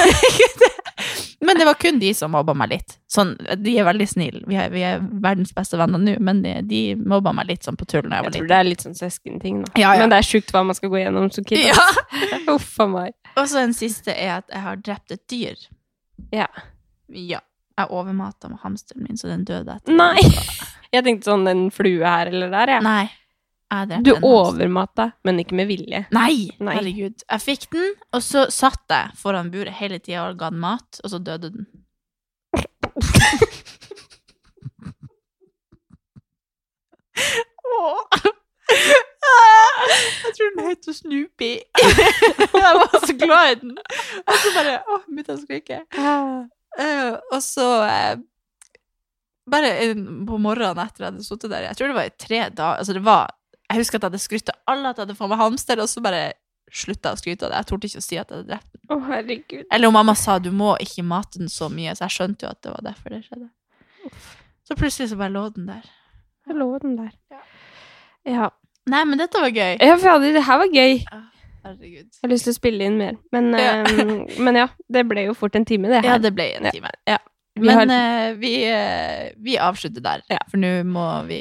[SPEAKER 2] men det var kun de som mobba meg litt. Sånn, de er veldig snille. Vi er, vi er verdens beste venner nå, men de, de mobba meg litt sånn på tull da jeg
[SPEAKER 1] Jeg
[SPEAKER 2] var
[SPEAKER 1] tror
[SPEAKER 2] liten.
[SPEAKER 1] det er litt sånn søskenting, da.
[SPEAKER 2] Ja, ja.
[SPEAKER 1] Men det er sjukt hva man skal gå gjennom som
[SPEAKER 2] *laughs*
[SPEAKER 1] kid.
[SPEAKER 2] Ja.
[SPEAKER 1] ass. *laughs* Uff a meg.
[SPEAKER 2] Og så en siste er at jeg har drept et dyr.
[SPEAKER 1] Ja.
[SPEAKER 2] Ja. Jeg overmata med hamsteren min, så den døde etter
[SPEAKER 1] Nei! Jeg tenkte sånn en flue her eller der, jeg.
[SPEAKER 2] Nei. Jeg drepte
[SPEAKER 1] Du
[SPEAKER 2] en hamster.
[SPEAKER 1] overmata, men ikke med vilje.
[SPEAKER 2] Nei,
[SPEAKER 1] Nei.
[SPEAKER 2] herregud. Jeg fikk den, og så satt jeg foran buret hele tida og ga den mat, og så døde den. Åh. Jeg tror den heter Snoopy. *laughs* Jeg var så glad i den. Og så bare Å, begynte jeg å skrike. Eh, og så eh, Bare en- på morgenen etter jeg hadde sittet der, jeg tror det var i tre dager Altså, det var Jeg husker at jeg hadde skrytt av alle at jeg hadde fått meg hamster, og så bare slutta jeg å skryte av det. Jeg torde ikke å si at jeg hadde drept den.
[SPEAKER 1] Å, herregud.
[SPEAKER 2] Eller om mamma sa du må ikke mate den så mye, så jeg skjønte jo at det var derfor det skjedde. Så plutselig så bare lå den der.
[SPEAKER 1] Jeg lå den der. Ja.
[SPEAKER 2] Nei, men dette var gøy.
[SPEAKER 1] Ja, fader, det her var gøy. Jeg
[SPEAKER 2] Herregud.
[SPEAKER 1] har lyst til å spille inn mer. Men
[SPEAKER 2] Ja.
[SPEAKER 1] ja, men ja det ble jo fort en time, det her.
[SPEAKER 2] Ja, det ble en time.
[SPEAKER 1] Ja. Vi har-
[SPEAKER 2] Men eh, vi, eh, vi avslutter der, for nå må vi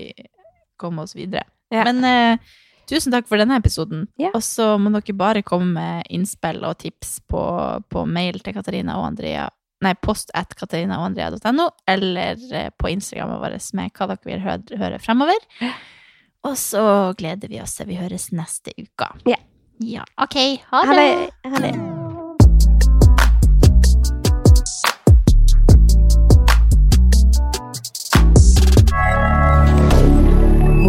[SPEAKER 2] komme oss videre.
[SPEAKER 1] Ja.
[SPEAKER 2] Men eh, tusen takk for denne episoden.
[SPEAKER 1] Ja.
[SPEAKER 2] Og så må dere bare komme med innspill og tips på, på mail til Katarina og Andrea. Nei, post at katarinaogandrea.no, eller eh, på Instagrammet vårt med hva dere vil høre, høre fremover. Og så gleder vi oss til vi høres neste uke.
[SPEAKER 1] Ja.
[SPEAKER 2] Ja, OK. Ha
[SPEAKER 1] Ha
[SPEAKER 2] det!
[SPEAKER 1] det. Ha det.